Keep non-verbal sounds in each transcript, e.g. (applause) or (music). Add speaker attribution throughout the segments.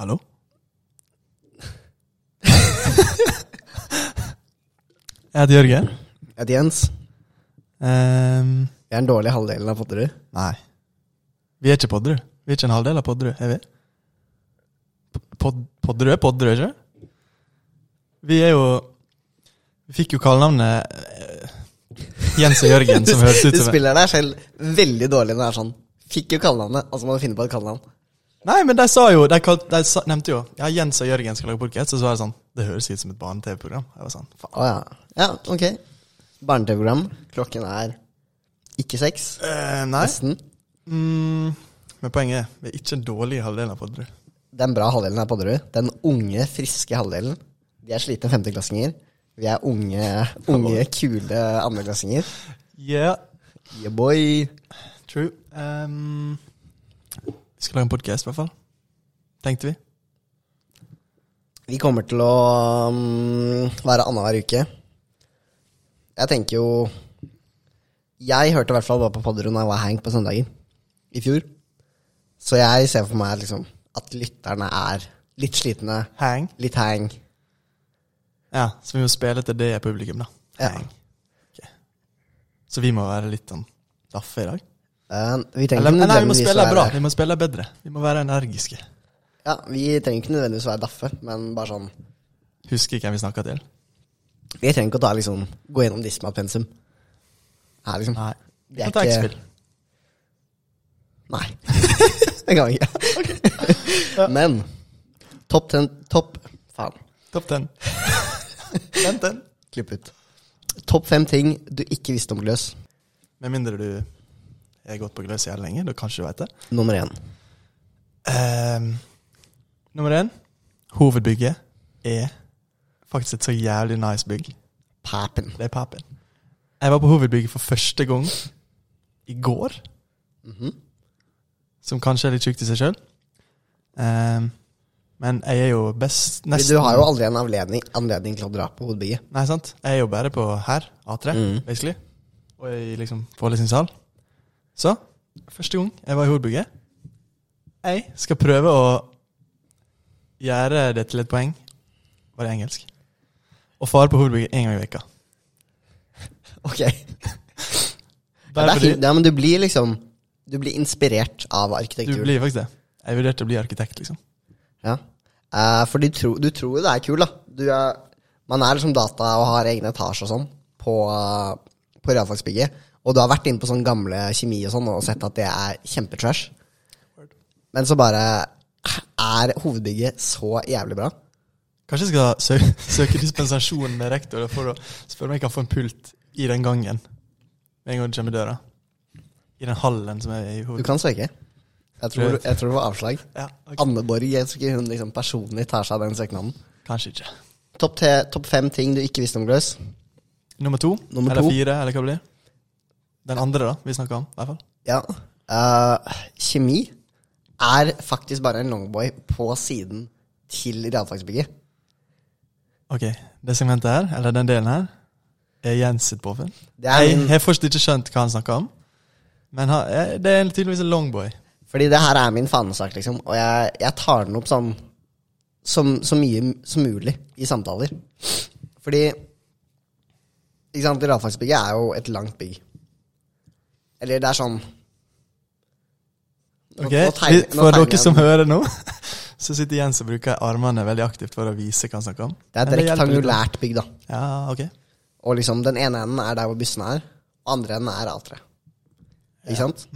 Speaker 1: Hallo? Jeg heter Jørgen.
Speaker 2: Jeg heter Jens.
Speaker 1: Ehm,
Speaker 2: Jeg er den dårlige halvdelen av Potterud.
Speaker 1: nei. Vi er ikke Podderud. Vi er ikke en halvdel av Podderud, er vi? P- Pod, podderud er Podderud, ikke Vi er jo Vi fikk jo kallenavnet eh, Jens og Jørgen, som høres ut
Speaker 2: Du
Speaker 1: (laughs) som
Speaker 2: spiller deg selv veldig dårlig når det er sånn. Fikk jo kallenavnet, og så må du finne på et kallenavn.
Speaker 1: Nei, men de sa jo De, kalt, de sa, nevnte jo Ja, Jens og Jørgen skal lage podkast, og så var det sånn Det høres ut som et barne-TV-program. Jeg var sånn Faen.
Speaker 2: Å ja. Ja, ok. Barne-TV-program. Klokken er ikke seks.
Speaker 1: Eh, nei.
Speaker 2: Nesten.
Speaker 1: Mm, men poenget er, vi er ikke en dårlig halvdel av Podderud.
Speaker 2: Den bra halvdelen er Podderud. Den unge, friske halvdelen. De er slitne femteklassinger. Vi er unge, unge kule andreklassinger.
Speaker 1: Yeah,
Speaker 2: Yeah, boy.
Speaker 1: true. Um, vi skal lage en podkast, i hvert fall. Tenkte vi.
Speaker 2: Vi kommer til å um, være annenhver uke. Jeg tenker jo Jeg hørte i hvert fall bare på Podderud når jeg var hank på søndager i fjor. Så jeg ser for meg liksom at lytterne er litt slitne,
Speaker 1: Hang.
Speaker 2: litt hang.
Speaker 1: Ja, Så vi må spille til det er publikum, da.
Speaker 2: Ja.
Speaker 1: Hang. Ok. Så vi må være litt sånn daffe i dag?
Speaker 2: Eh, vi trenger
Speaker 1: Eller, nei, vi må
Speaker 2: ikke nødvendigvis
Speaker 1: spille
Speaker 2: være-
Speaker 1: bra. Vi må spille bedre. Vi må være energiske.
Speaker 2: Ja, vi trenger ikke nødvendigvis være daffe, men bare sånn
Speaker 1: Husker ikke hvem vi snakka til.
Speaker 2: Vi trenger ikke å ta liksom gå gjennom Dismat-pensum. Her, liksom.
Speaker 1: Nei. Vi
Speaker 2: Det er
Speaker 1: kan ta
Speaker 2: ikke-
Speaker 1: X-Fill.
Speaker 2: Nei. (laughs) det kan vi ikke. (laughs) Men topp ten Topp Faen.
Speaker 1: Topp ten. (laughs) Vent den.
Speaker 2: Klipp ut. Topp fem ting du ikke visste om gløs.
Speaker 1: Med mindre du har gått på gløs jævlig lenge. Da kanskje du veit det.
Speaker 2: Nummer én.
Speaker 1: Ehm, nummer én Hovedbygget er faktisk et så jævlig nice bygg.
Speaker 2: Papen.
Speaker 1: Det er Papen. Jeg var på hovedbygget for første gang i går. Som kanskje er litt tjukt i seg sjøl. men jeg er jo best nesten
Speaker 2: Du har jo aldri en anledning, anledning til å dra på hovedbygget.
Speaker 1: Nei, sant? Jeg er jo bare på her, A3,
Speaker 2: Mm.
Speaker 1: basically. Og i liksom forelesningssal. Så, første gang jeg var i hovedbygget Jeg skal prøve å gjøre det til et poeng, var det engelsk, å fare på hovedbygget én gang i veka.
Speaker 2: Ok. Ja, det
Speaker 1: Bare
Speaker 2: er
Speaker 1: fordi
Speaker 2: fint. Ja, men du blir liksom Du blir inspirert av
Speaker 1: du
Speaker 2: arkitektur.
Speaker 1: blir faktisk det. Jeg vurderte å bli arkitekt, liksom.
Speaker 2: Ja. Eh, for du, tror- du tror jo det er kul, da. Du er, man er liksom data og har egne etasjer og sånn på, eh, på realfagsbygget. Og du har vært inne på sånn gamle kjemi og sånn og sett at det er kjempetrash. Men så bare Er hovedbygget så jævlig bra?
Speaker 1: Kanskje jeg skal sø (laughs) søke dispensasjon med rektor for å spørre om jeg kan få en pult i den gangen. Med en gang du kommer i døra. I den hallen som er i
Speaker 2: Du
Speaker 1: hovedbygget.
Speaker 2: kan søke. Jeg tror, jeg tror det var avslag.
Speaker 1: Ja, ok.
Speaker 2: Anne Borg, jeg tror ikke hun liksom personlig tar seg av den søknaden.
Speaker 1: Kanskje ikke.
Speaker 2: Topp te- topp fem ting du ikke visste om Gløs.
Speaker 1: Nummer to?
Speaker 2: Nummer
Speaker 1: eller
Speaker 2: to.
Speaker 1: fire, eller hva det blir? Den andre, da, vi snakka om. i hvert fall.
Speaker 2: Ja. eh, kjemi er faktisk bare en longboy på siden til realfagsbygget.
Speaker 1: Ok, Det segmentet her, eller den delen her, er Jens sitt påfunn.
Speaker 2: Det er
Speaker 1: Jeg
Speaker 2: min-
Speaker 1: har fortsatt ikke skjønt hva han snakker om, men han, eh, det er tydeligvis en longboy.
Speaker 2: Fordi det her er min fanesak, liksom. Og jeg, jeg tar den opp sånn som, så mye m- som mulig i samtaler. Fordi Ikke sant, realfagsbygget er jo et langt bygg. Eller det er sånn Nå-
Speaker 1: Ok,
Speaker 2: nå tegner-
Speaker 1: vi-
Speaker 2: nå
Speaker 1: For
Speaker 2: tegner
Speaker 1: dere
Speaker 2: jeg
Speaker 1: som
Speaker 2: den.
Speaker 1: hører nå, (laughs) så sitter Jens og bruker armene veldig aktivt for å vise hva han snakker om.
Speaker 2: Det er
Speaker 1: Men
Speaker 2: et
Speaker 1: hjelper litt.
Speaker 2: rektangulært bygg, da.
Speaker 1: Ja, ok.
Speaker 2: Og liksom den ene enden er der hvor bussene er, og andre enden er A3. Ikke sant?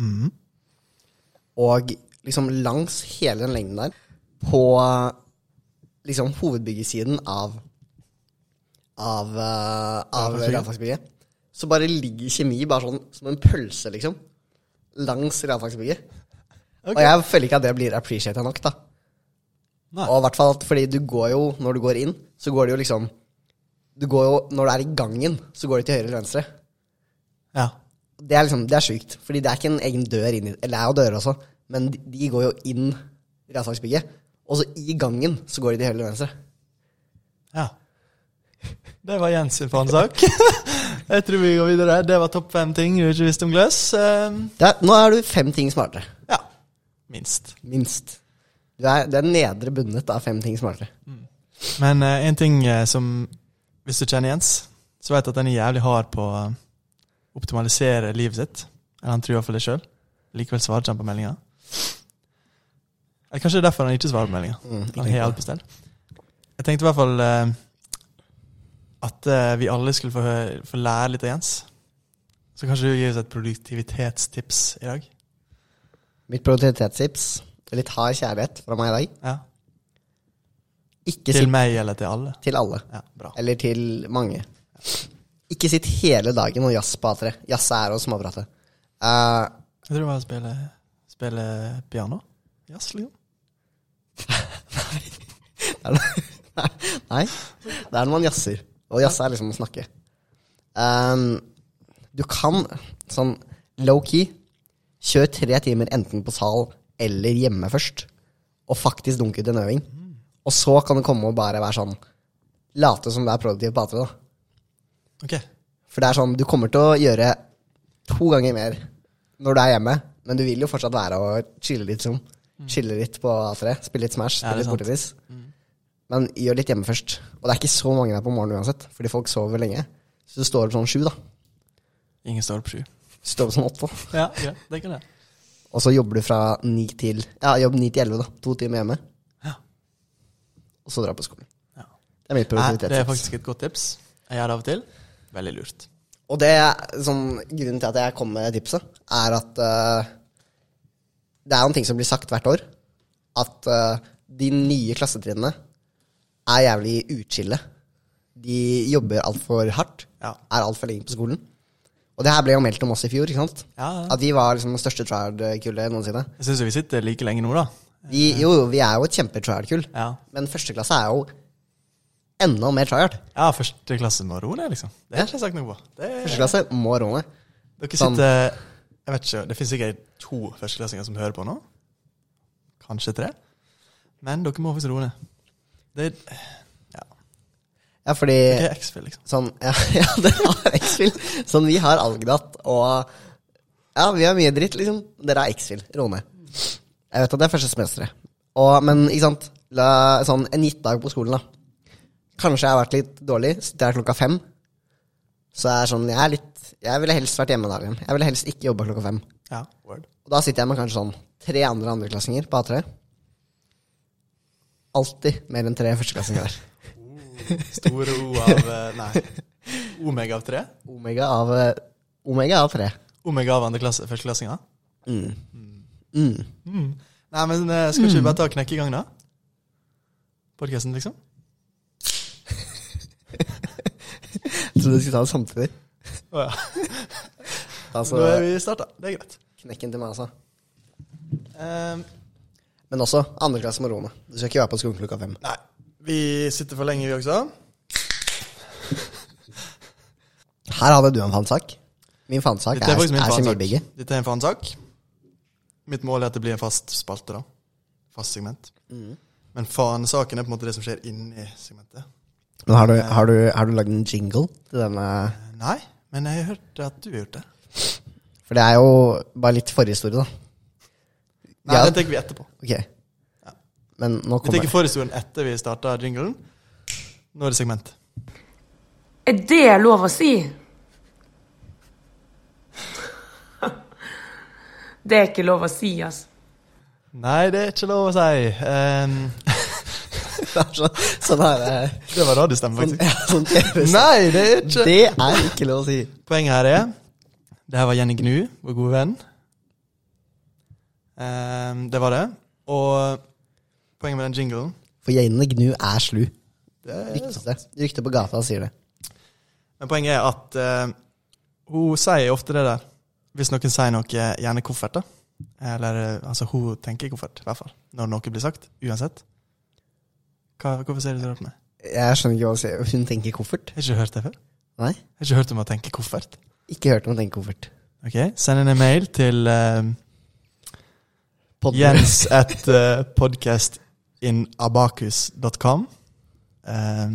Speaker 2: Og liksom langs hele den lengden der, på liksom hovedbyggesiden av av, uh, av
Speaker 1: Realfagsbygget.
Speaker 2: realfagsbygget, så bare ligger kjemi bare sånn som en pølse, liksom. Langs realfagsbygget. Og jeg føler ikke at det blir appreciata nok, da.
Speaker 1: Nei.
Speaker 2: Og i hvert fall at- fordi du går jo, når du går inn, så går det jo liksom Du går jo, når du er i gangen, så går det til høyre eller venstre.
Speaker 1: Ja.
Speaker 2: Det er liksom, det er sjukt, fordi det er ikke en egen dør inn i Eller det er jo dører også, men de, de går jo inn i realfagsbygget. Og så i gangen så går de til høyre eller venstre.
Speaker 1: ja. Det var Jens sin fanesak. (laughs) jeg tror vi går videre. Det var topp fem ting du ikke visste om gløs. Eh,
Speaker 2: Det er, nå er du fem ting smartere.
Speaker 1: Ja. Minst.
Speaker 2: Minst. Du er, du er nedre bundet av fem ting smartere.
Speaker 1: Men eh, en ting eh, som Hvis du kjenner Jens, så vet jeg at han er jævlig hard på å optimalisere livet sitt. Eller han tror iallfall det sjøl. Likevel svarer ikke han på meldinga. Eller kanskje det er derfor han ikke svarer på meldinga.
Speaker 2: Mm,
Speaker 1: Han har alt på stell. Jeg tenkte i hvert fall eh, at eh, vi alle skulle få, hø- få lære litt av Jens. Så kanskje du gir oss et produktivitetstips i dag?
Speaker 2: Mitt produktivitetstips, litt hard kjærlighet fra meg i dag,
Speaker 1: Ja.
Speaker 2: ikke
Speaker 1: Til
Speaker 2: sitt
Speaker 1: meg eller til alle?
Speaker 2: til alle.
Speaker 1: Ja, bra.
Speaker 2: Eller til mange. Ikke sitt hele dagen og jazz på A3. Jazz er å småprate. Eh,
Speaker 1: Jeg tror det var å spille, spille piano. Jazz, liksom.
Speaker 2: (laughs) nei, det er når man jazzer. Og jazz er liksom å snakke. Ehm, du kan, sånn low-key, kjør tre timer enten på sal eller hjemme først, og faktisk dunke ut en øving. Og så kan du komme og bare være sånn Late som du er produktiv på A3, da.
Speaker 1: Ok.
Speaker 2: For det er sånn, du kommer til å gjøre to ganger mer når du er hjemme, men du vil jo fortsatt være og chille litt sånn. Chille litt på A3, spille litt Smash,
Speaker 1: Mm. Ja, det er
Speaker 2: spille litt
Speaker 1: sant. Mm.
Speaker 2: bortevis. Men gjør litt hjemme først. Og det er ikke så mange der på morgenen uansett, fordi folk sover lenge. Så du står opp sånn sju, da.
Speaker 1: Ingen står opp sju.
Speaker 2: Du står opp sånn åtte.
Speaker 1: Ja, det kan jeg.
Speaker 2: Og så jobber du fra ni til Ja, jobb ni til elleve, da. To timer hjemme.
Speaker 1: Ja.
Speaker 2: Og så dra på skolen.
Speaker 1: Ja.
Speaker 2: Det er mitt
Speaker 1: Det er
Speaker 2: produktivitet.
Speaker 1: faktisk et godt tips. Jeg gjør det av og til. Veldig lurt.
Speaker 2: Og det er sånn, grunnen til at jeg kom med tipset, er at eh, det er en ting som blir sagt hvert år, at eh, de nye klassetrinnene er jævlig utskille. De jobber altfor hardt,
Speaker 1: Ja.
Speaker 2: er altfor lenge på skolen. Og det her ble jo meldt om oss i fjor, ikke sant?
Speaker 1: Ja, ja.
Speaker 2: At vi var liksom det største trial-kullet noensinne.
Speaker 1: Jeg syns jo vi sitter like lenge nå, da.
Speaker 2: Vi, jo, jo, vi er jo et kjempe-trial-kull,
Speaker 1: Ja,
Speaker 2: men første klasse er jo enda mer trial.
Speaker 1: ja første klasse må roe ned, liksom. Det har ikke jeg sagt noe på. Det
Speaker 2: Første klasse må rå ned.
Speaker 1: Dere
Speaker 2: Sånn.
Speaker 1: sitter Jeg vet ikke, Det finnes sikkert to førsteklassinger som hører på nå. Kanskje tre. Men dere må faktisk roe ned. Det er, ja,
Speaker 2: Ja, fordi
Speaker 1: det er X-Fill, liksom.
Speaker 2: Sånn, (laughs) ja, ja det har X-Fil. Sånn, vi har Algdat, og ja, vi har mye dritt, liksom. Dere har X-Fil. Ro ned. Jeg vet at det er første semesteret. Og, men ikke sant, La, sånn en gitt dag på skolen, da. Kanskje jeg har vært litt dårlig, sitter her klokka fem. Så jeg er sånn, jeg er litt Jeg ville helst vært hjemme dagen. Jeg ville helst ikke jobba klokka fem.
Speaker 1: Ja, word.
Speaker 2: Og da sitter jeg med kanskje sånn tre andre andreklassinger på A3. Alltid mer enn tre førsteklassinger der.
Speaker 1: Store O av eh, (laughs) Nei. Omega av tre.
Speaker 2: Omega av eh, Omega av tre.
Speaker 1: Omega av andre klasse, førsteklassinger.
Speaker 2: Mm.
Speaker 1: Nei, men eh, skal ikke vi bare ta og knekke i gang, da? Podkasten, liksom?
Speaker 2: Jeg trodde du skulle ta det samtidig.
Speaker 1: Å ja.
Speaker 2: Altså,
Speaker 1: Nå er vi starta. Det er greit.
Speaker 2: knekken til meg, altså.
Speaker 1: Ehm,
Speaker 2: Men også andre klasse med roende. Du skal ikke være på skolen klokka fem.
Speaker 1: nei, vi sitter for lenge, vi også.
Speaker 2: Her hadde du en fansak. Min fansak
Speaker 1: Dette er
Speaker 2: er,
Speaker 1: faktisk
Speaker 2: er,
Speaker 1: min
Speaker 2: kjemibigge.
Speaker 1: fanesak. Dette er en fanesak. Mitt mål er at det blir en fast spalte, da. Fast segment.
Speaker 2: Mm.
Speaker 1: Men fanesaken er på en måte det som skjer inni segmentet.
Speaker 2: Men har du, har, du, har du lagd en jingle til denne?
Speaker 1: Eh, Nei, men jeg har hørt at du har gjort det.
Speaker 2: For det er jo bare litt forhistorie, da.
Speaker 1: Nei,
Speaker 2: Ja.
Speaker 1: den tenker vi etterpå.
Speaker 2: Ok. Men nå
Speaker 1: Vi
Speaker 2: kommer (laughs)
Speaker 1: tenker forhistorien etter vi starta jinglen. Nå er det segment.
Speaker 3: Er det lov å si? (laughs) Det er ikke lov å si, altså.
Speaker 1: Nei, det er ikke lov å si. Ehm,
Speaker 2: det. er sånn- Sånn er det.
Speaker 1: det var radiostemme,
Speaker 2: Sånn,
Speaker 1: faktisk.
Speaker 2: ja,
Speaker 1: (laughs)
Speaker 2: sånn TV
Speaker 1: Nei, det er ikke
Speaker 2: Det er ikke lov å si.
Speaker 1: Poenget her er Det her var Jenny Gnu, vår gode venn. Ehm, det var det. Og poenget med den jinglen
Speaker 2: For gjeinene Gnu er slu.
Speaker 1: det er
Speaker 2: Ryktes det. Ryktet på gata sier det.
Speaker 1: Men poenget er at eh, hun sier ofte det der. Hvis noen sier noe, eh, gjerne koffert, da. Eller eh, altså, hun tenker koffert, i hvert fall. Når noe blir sagt. Uansett. Hva, hvorfor sier du det på meg?
Speaker 2: Jeg skjønner ikke hva hun sier. Hun tenker koffert?
Speaker 1: Jeg har ikke hørt det før.
Speaker 2: Nei.
Speaker 1: Jeg har ikke hørt om å tenke koffert.
Speaker 2: Ikke hørt om å tenke koffert.
Speaker 1: Ok, Send inn en mail til eh,
Speaker 2: Podden.
Speaker 1: jens at eh, podcastinabakus.com. Eh,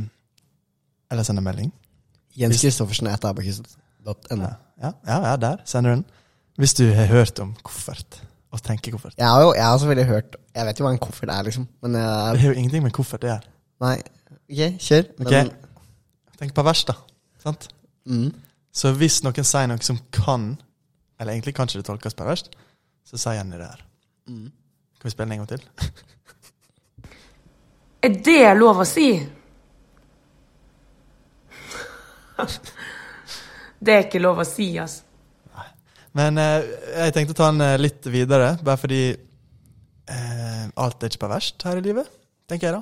Speaker 1: eller send en melding.
Speaker 2: Jens
Speaker 1: Hvis-
Speaker 2: Kristoffersen er abakus.no.
Speaker 1: Ja, ja, ja, der sender du den. Hvis du har hørt om koffert. og tenkekoffert.
Speaker 2: Jeg har jo jeg har selvfølgelig hørt Jeg vet jo hva en koffert er, liksom. Men
Speaker 1: Det (laughs)
Speaker 2: jeg,
Speaker 1: har jo ingenting med koffert å gjøre.
Speaker 2: Nei. Ok, kjør.
Speaker 1: Ok?
Speaker 2: Men,
Speaker 1: Tenk på vers, da. Sant?
Speaker 2: mm,
Speaker 1: Så hvis noen sier noe som kan, eller egentlig kan ikke det tolkes perverst, så sier han det der. Kan vi spille den en gang til?
Speaker 3: Er det lov å si? (laughs) Det er ikke lov å si, altså.
Speaker 1: Men eh, jeg tenkte å ta den eh, litt videre, bare fordi eh, alt er ikke perverst her i livet, tenker jeg da.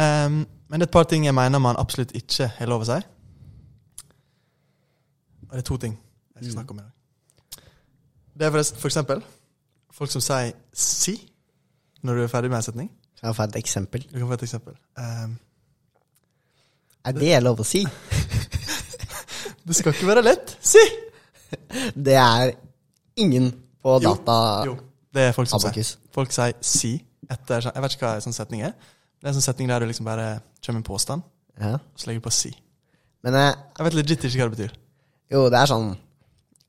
Speaker 1: Ehm, men det er et par ting jeg mener man absolutt ikke har lov å si. Og det er to ting jeg skal snakke om i dag. Det er forresten- for eksempel folk som sier 'si' når du er ferdig med en setning.
Speaker 2: kan jeg få et eksempel?
Speaker 1: Du kan få et eksempel. Ehm,
Speaker 2: Er det lov å si?
Speaker 1: Det skal ikke være lett. Si!
Speaker 2: Det er ingen på data
Speaker 1: Jo, det er folk som
Speaker 2: Abacus.
Speaker 1: sier. Folk sier si etter Jeg vet ikke hva en sånn setning er. Det er en sånn setning der du liksom bare kommer med en påstand,
Speaker 2: Ja.
Speaker 1: og så legger du på si.
Speaker 2: Men eh,
Speaker 1: Jeg vet legit ikke hva det betyr.
Speaker 2: jo, det er sånn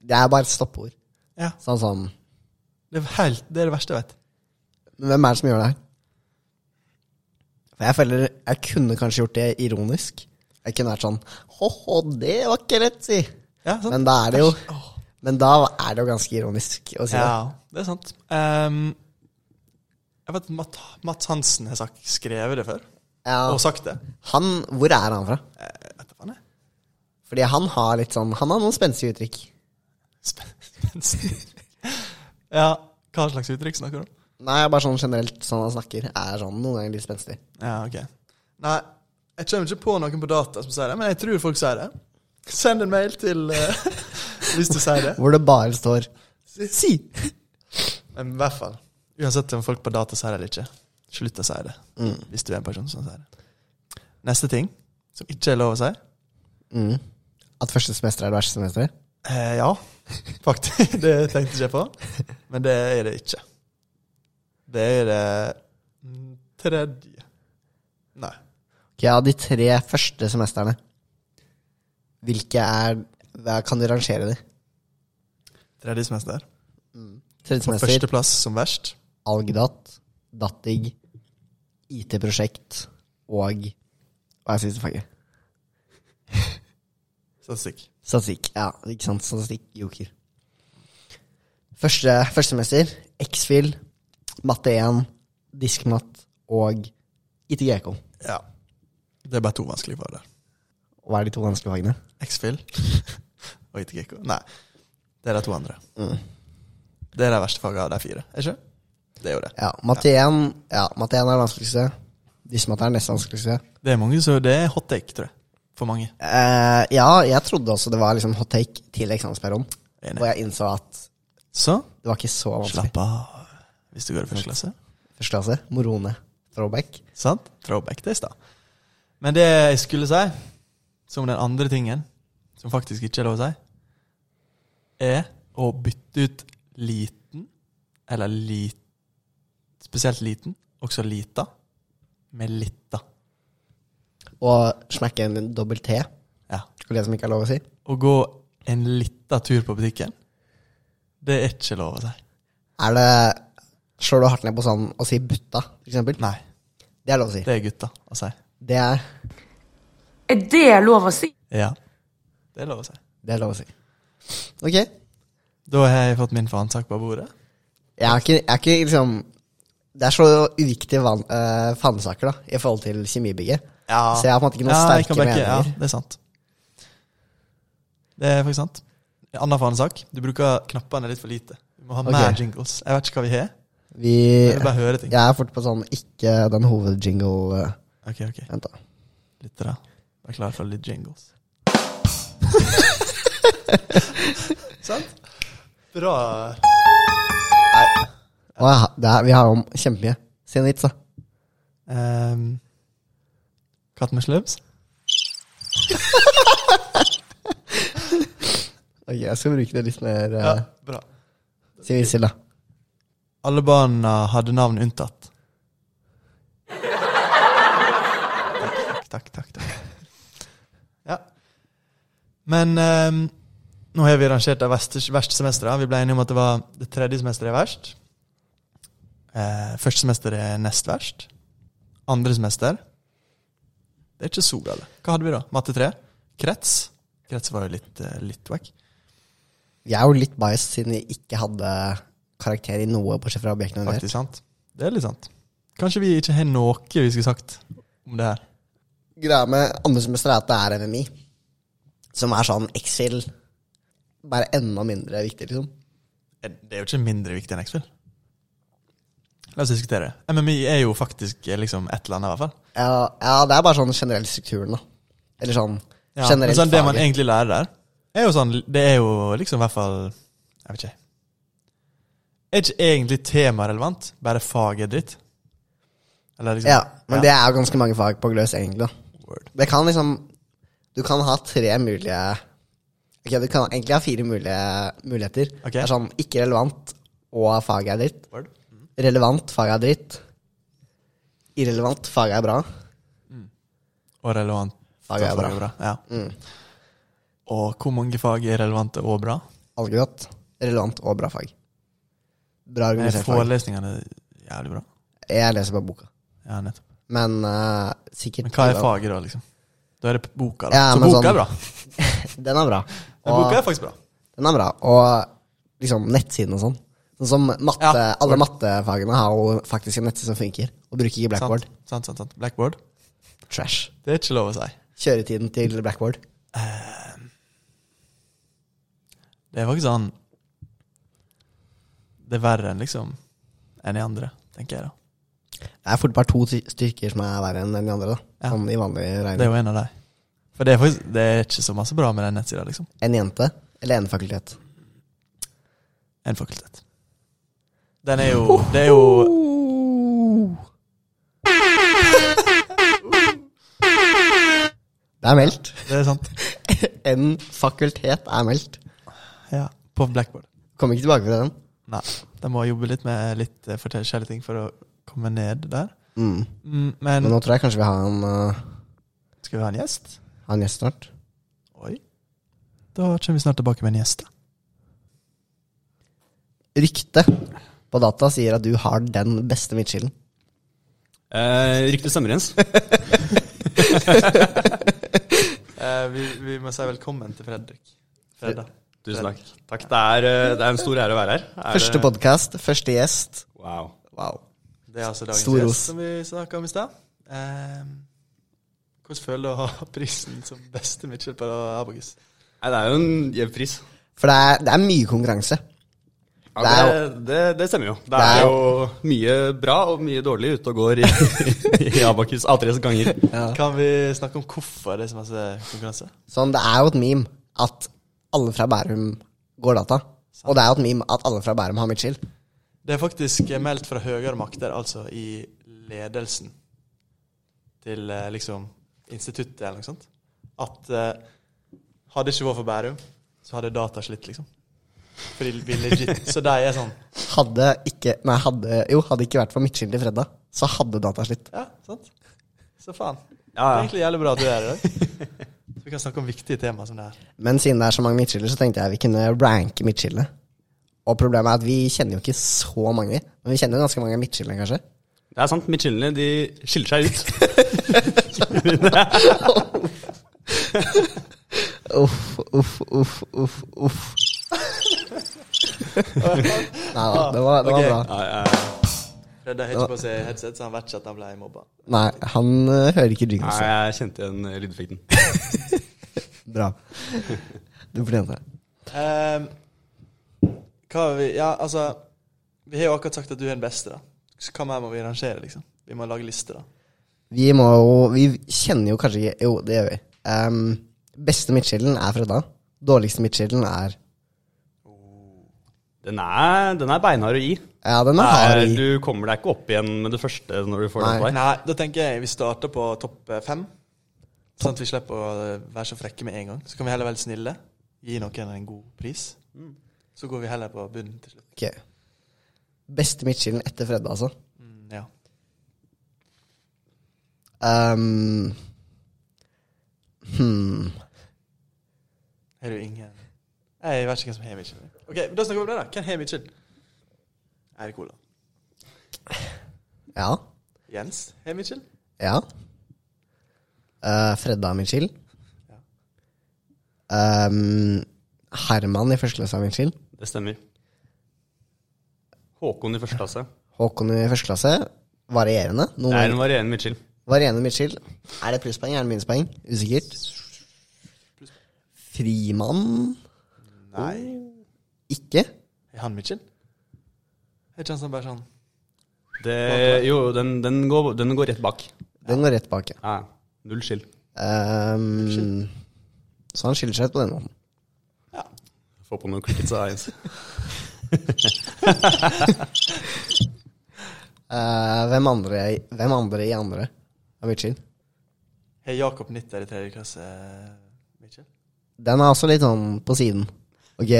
Speaker 2: Det er bare et stoppeord.
Speaker 1: Ja,
Speaker 2: Sånn som
Speaker 1: Det er, helt, det, er det verste jeg vet.
Speaker 2: Men hvem er det som gjør det her? For jeg føler Jeg kunne kanskje gjort det ironisk. Jeg kunne vært sånn Ho-ho, det var ikke lett, si.
Speaker 1: Ja, sant?
Speaker 2: Men da er det jo
Speaker 1: Åh.
Speaker 2: Men da er det jo ganske ironisk å si
Speaker 1: ja, det er sant. Ehm, jeg vet Matt, Mats Hansen har sagt, skrevet det før,
Speaker 2: det. Ja.
Speaker 1: og sagt det.
Speaker 2: Han Hvor er han fra?
Speaker 1: Jeg vet da faen, jeg.
Speaker 2: Fordi han har litt sånn Han har noen spenstige uttrykk.
Speaker 1: Spen- (laughs) Spenstig. Ja, hva slags uttrykk snakker du om?
Speaker 2: Nei, bare sånn generelt, sånn han snakker, er sånn noen ganger litt spenstig.
Speaker 1: Ja, ok. Nei, jeg kommer ikke på noen på data som sier det, men jeg tror folk sier det. Send en mail til eh, (laughs) hvis du sier det.
Speaker 2: Hvor det bare står
Speaker 1: Si! Men i hvert fall. Uansett om folk på data sier det eller ikke, slutt å si det. Hvis du er en person som sier det. Neste ting, som ikke er lov å si.
Speaker 2: mm, at første semester er det verste semesteret.
Speaker 1: Eh, ja, (laughs) faktisk. Det tenkte ikke jeg på. Men det er det ikke. Det er det mm, tredje Nei.
Speaker 2: Ok, ja, de tre første semestrene. Hvilke er hva Kan du rangere de?
Speaker 1: Tredje semester.
Speaker 2: Tredje
Speaker 1: På
Speaker 2: semester,
Speaker 1: førsteplass som verst.
Speaker 2: algdat, dattig, IT-prosjekt og Hva er siste faget?
Speaker 1: Statistikk.
Speaker 2: Statistikk. Ja, ikke sant. Statistikk. Joker. Første Førstemester. X-Fil. Matte 1. Diskmatt. Og ITGK.
Speaker 1: Ja. Det er bare to vanskelige fag der.
Speaker 2: Hva er de to vanskelige fagene?
Speaker 1: X-Fill (laughs) og ITGK. Nei, det er de to andre.
Speaker 2: Mm.
Speaker 1: Det er de verste fagene av de fire. Er ikke? det? Det er jo det.
Speaker 2: Ja, Matte 1 ja, Matte 1 er det vanskeligste. Diskmatte er det nest vanskeligste.
Speaker 1: Det er mange, så det er hot take, tror jeg. For mange.
Speaker 2: Eh, ja, jeg trodde også det var liksom hot take til eksamensperioden.
Speaker 1: Enig.
Speaker 2: Og jeg innså at
Speaker 1: Så
Speaker 2: det var ikke så vanskelig.
Speaker 1: slapp av hvis du går i første klasse.
Speaker 2: Første klasse. Morone. Throwback.
Speaker 1: Sant? Throwback til i stad. Men det jeg skulle si, som den andre tingen, som faktisk ikke er lov å si, er å bytte ut liten, eller lit, spesielt liten, også lita, med litta.
Speaker 2: Og smekke en dobbelt T.
Speaker 1: Ja.
Speaker 2: For det som ikke er lov å si.
Speaker 1: Å gå en lita tur på butikken, det er ikke lov å si.
Speaker 2: Er det Slår du hardt ned på sånn å si butta, for eksempel?
Speaker 1: Nei,
Speaker 2: Det er lov å si.
Speaker 1: det er gutta å si.
Speaker 2: Det er,
Speaker 3: Er det lov å si?
Speaker 1: Ja, det er lov å si.
Speaker 2: det er lov å si. Ok. Jeg
Speaker 1: Da har jeg fått min faensak på bordet.
Speaker 2: er ikke, jeg er ikke liksom Det er så uviktige van, eh, fanesaker da, i forhold til kjemibygget.
Speaker 1: Ja.
Speaker 2: Så jeg har på en måte ikke noen
Speaker 1: Ja, jeg
Speaker 2: sterke
Speaker 1: kan backe-
Speaker 2: meninger.
Speaker 1: Ja, det er sant. Det er faktisk sant. En annen fanesak. Du bruker knappene litt for lite. Vi må ha
Speaker 2: Ok.
Speaker 1: mer jingles. Jeg vet ikke hva vi har.
Speaker 2: Vi,
Speaker 1: Jeg vil bare høre ting.
Speaker 2: jeg er fort på sånn ikke den hovedjingle eh,
Speaker 1: Ok, ok.
Speaker 2: Vent, da.
Speaker 1: Litt da. Vær klar for litt
Speaker 2: (laughs)
Speaker 1: jingles. sant? Bra.
Speaker 2: Å, ja, det er, vi har om kjempemye. Si noe hits, da.
Speaker 1: Um, katt med slubs?
Speaker 2: Ok, Jeg skal bruke det litt mer. eh,
Speaker 1: Ja, bra.
Speaker 2: Si Visil, da.
Speaker 1: Alle barna hadde navn unntatt. Takk, takk, takk. takk. Ja. Men ehm, nå har vi rangert de verste, verste semestrene. Vi ble enige om at det var det tredje semesteret er verst. Eh, første semester er nest verst. Andre semester Det er ikke så galt. Hva hadde vi da? Matte 3? Krets? Krets var jo litt, eh, litt wack.
Speaker 2: Jeg er jo litt bias siden vi ikke hadde karakter i noe, bortsett fra objekten under.
Speaker 1: Faktisk sant. Det er litt sant. Kanskje vi ikke har noe vi skulle sagt om det her.
Speaker 2: Greia med andre semester er at det er MMI, som er sånn Excel, bare enda mindre viktig, liksom.
Speaker 1: Eh, Det er jo ikke mindre viktig enn X-Fill. La oss diskutere. MMI er jo faktisk eh, liksom et eller annet, i hvert fall.
Speaker 2: Ja, ja, det er bare sånn generell strukturen, da. Eller sånn
Speaker 1: Ja, men
Speaker 2: generelt
Speaker 1: sånn, det man
Speaker 2: faget.
Speaker 1: egentlig lærer der, er jo sånn Det er jo liksom i hvert fall Jeg vet ikke. Er ikke egentlig temarelevant, bare faget er dritt? Eller liksom
Speaker 2: Ja, men det er jo ganske mange fag på gløs, egentlig. da.
Speaker 1: Word.
Speaker 2: Det kan liksom Du kan ha tre mulige Ok, du kan egentlig ha fire mulige muligheter.
Speaker 1: Ok.
Speaker 2: Det er sånn ikke relevant og faget er dritt.
Speaker 1: Word.
Speaker 2: Relevant, faget er dritt. Irrelevant, faget er bra.
Speaker 1: Og relevant.
Speaker 2: Faget er
Speaker 1: Så
Speaker 2: bra. Mm.
Speaker 1: Ja. Og hvor mange fag er relevante og bra?
Speaker 2: Algebratt, relevant og bra fag. Bra
Speaker 1: Er
Speaker 2: organisert fag.
Speaker 1: forelesningene jævlig bra?
Speaker 2: Jeg leser bare boka.
Speaker 1: Ja, nettopp.
Speaker 2: Men eh, sikkert
Speaker 1: Men hva er faget, da, liksom? Da er det p- boka, da.
Speaker 2: Ja,
Speaker 1: Så
Speaker 2: men
Speaker 1: boka
Speaker 2: sånn-
Speaker 1: er bra.
Speaker 2: Den er bra.
Speaker 1: Men boka er faktisk bra.
Speaker 2: Den er bra. Og liksom nettsiden og sånn. Sånn som matte,
Speaker 1: Ja,
Speaker 2: Alle mattefagene har jo faktisk en nettside som funker. Og bruker ikke blackboard.
Speaker 1: Sant, sant, sant, sant. Blackboard.
Speaker 2: Trash.
Speaker 1: Det er ikke lov å si.
Speaker 2: Kjøretiden til blackboard.
Speaker 1: Det er faktisk sånn Det er verre enn liksom enn i andre, tenker jeg da.
Speaker 2: Det er fort bare to ty- stykker som er verre enn de andre. da
Speaker 1: Ja.
Speaker 2: Sånn i vanlig
Speaker 1: Det er
Speaker 2: regning.
Speaker 1: jo en av de. For det er faktisk det er ikke så masse bra med den nettsida, liksom.
Speaker 2: En jente eller en fakultet.
Speaker 1: En fakultet. Den er jo Det er jo
Speaker 2: Det er meldt.
Speaker 1: Det er sant.
Speaker 2: En fakultet er meldt.
Speaker 1: Ja. På blackboard.
Speaker 2: Kommer ikke tilbake fra den.
Speaker 1: Nei. De må jobbe litt med litt eh, forskjellige ting for å komme ned der.
Speaker 2: Mm.
Speaker 1: Mm,
Speaker 2: Men
Speaker 1: Men
Speaker 2: nå tror jeg kanskje vi har en, uh,
Speaker 1: skal vi ha en gjest?
Speaker 2: har en gjest snart.
Speaker 1: Oi. Da kommer vi snart tilbake med en gjest. da.
Speaker 2: Ryktet på data sier at du har den beste midtskillen.
Speaker 4: Eh, ryktet stemmer,
Speaker 2: (laughs)
Speaker 4: Jens.
Speaker 1: Eh, vi, må si velkommen til Fredrik. Fredda.
Speaker 4: Tusen takk. takk. Det, er, eh, det er en stor ære å være her. Er
Speaker 2: Første
Speaker 4: det-
Speaker 2: podkast, første gjest.
Speaker 4: Wow.
Speaker 2: Wow.
Speaker 1: Det er altså dagens
Speaker 2: Stor ros.
Speaker 1: gjest som vi snakka om i stad. Eh, hvordan føler du å ha prisen som beste midtskill på Abogus?
Speaker 4: Nei, det er jo en jevn pris.
Speaker 2: For det er, det er mye konkurranse.
Speaker 4: Ja,
Speaker 2: Det er
Speaker 4: det, det, det stemmer jo. Det
Speaker 2: Det er
Speaker 4: er jo mye bra og mye dårlig ute og går i, (laughs) i Abakus A3s ganger.
Speaker 1: Kan vi snakke om hvorfor det er så masse konkurranse?
Speaker 2: Sånn, det er jo et meme at alle fra Bærum går data. Og det er jo et meme at alle fra Bærum har midtskill.
Speaker 1: Det er faktisk eh, meldt fra høyere makter, altså i ledelsen til eh, liksom instituttet eller noe sånt, at eh, hadde det ikke vært for Bærum, så hadde data slitt, liksom. Fordi vi legit, så de er sånn
Speaker 2: Hadde ikke Nei, hadde Jo, hadde ikke vært for midtskill til fredag, så hadde data slitt.
Speaker 1: Ja, sant? Så faen. Det er
Speaker 4: Ja, ja.
Speaker 1: egentlig jævlig bra at du er her i dag. Så vi kan snakke om viktige temaer som det her.
Speaker 2: Men siden det er så mange midtskiller, så tenkte jeg vi kunne ranke midtskillene. Og problemet er at vi kjenner jo ikke så mange. Men vi kjenner jo ganske mange av midtskillene, kanskje.
Speaker 4: Det er sant. Midtskillene de skiller seg ut.
Speaker 2: (laughs) Uff, uff, uff, uff, uff. Nei da, det var, det var
Speaker 1: Ok.
Speaker 2: bra.
Speaker 4: Ja, ja.
Speaker 1: Fredde har ikke på seg headset, så han vet ikke at han ble mobba.
Speaker 2: Nei, han eh, hører ikke jingles.
Speaker 4: Nei, jeg kjente igjen eh, lydeffekten.
Speaker 2: Bra. Du fortjente det.
Speaker 1: Ehm, hva har vi Ja, altså Vi har jo akkurat sagt at du er den beste, da. Så hva mer må vi rangere, liksom? Vi må lage liste, da.
Speaker 2: Vi må jo Vi kjenner jo kanskje ikke Jo, det gjør vi. Ehm, beste midtskillen er Fredda. Dårligste midtskillen er
Speaker 4: Den er, den er beinhard å gi.
Speaker 2: Ja, den er hard.
Speaker 4: Det er-
Speaker 2: i.
Speaker 4: Du kommer deg ikke opp igjen med det første når du får
Speaker 2: Nei.
Speaker 4: den på deg.
Speaker 1: Nei, da tenker jeg vi starter på topp eh, fem. Sånn at vi slipper å eh, være så frekke med en gang. Så kan vi heller være litt snille. Gi noen en god pris. Så går vi heller på bunnen til slutt.
Speaker 2: Ok. Beste midtskillen etter Fredda, altså.
Speaker 1: Mm, ja.
Speaker 2: Ehm, hmm.
Speaker 1: Har du ingen Nei, Jeg vet ikke hvem som har Mitchell. Ok, men Da snakker vi om det, da. Hvem har Mitchell? Eirik Olav.
Speaker 2: Ja.
Speaker 1: Jens Hemichel.
Speaker 2: Ja. Eh, Fredda Michil. Um, Herman i første klasse er Michil.
Speaker 4: Det stemmer. Håkon i første klasse.
Speaker 2: Håkon i første klasse. Varierende. Noen
Speaker 4: Det er
Speaker 2: ganger
Speaker 4: en varierende midtskill.
Speaker 2: Varene Mitchell. Er det plusspoeng? Er det minuspoeng? Usikkert. Frimann
Speaker 1: Nei.
Speaker 2: ikke.
Speaker 1: Er han Mitchell? Er ikke han som bare sånn
Speaker 4: Det- Jo, den, den, går, den går rett bak.
Speaker 2: Den går rett bak. ja.
Speaker 4: Ja, ja. null skill.
Speaker 2: Ehm, så han skiller seg ut på den måten.
Speaker 4: Få på noen crickets av Jens.
Speaker 2: Eh, hvem, andre, hvem andre i andre er Mitchell?
Speaker 1: Har Jakob Nitter i tredje klasse Mitchell?
Speaker 2: Den er også litt sånn på siden. Ok,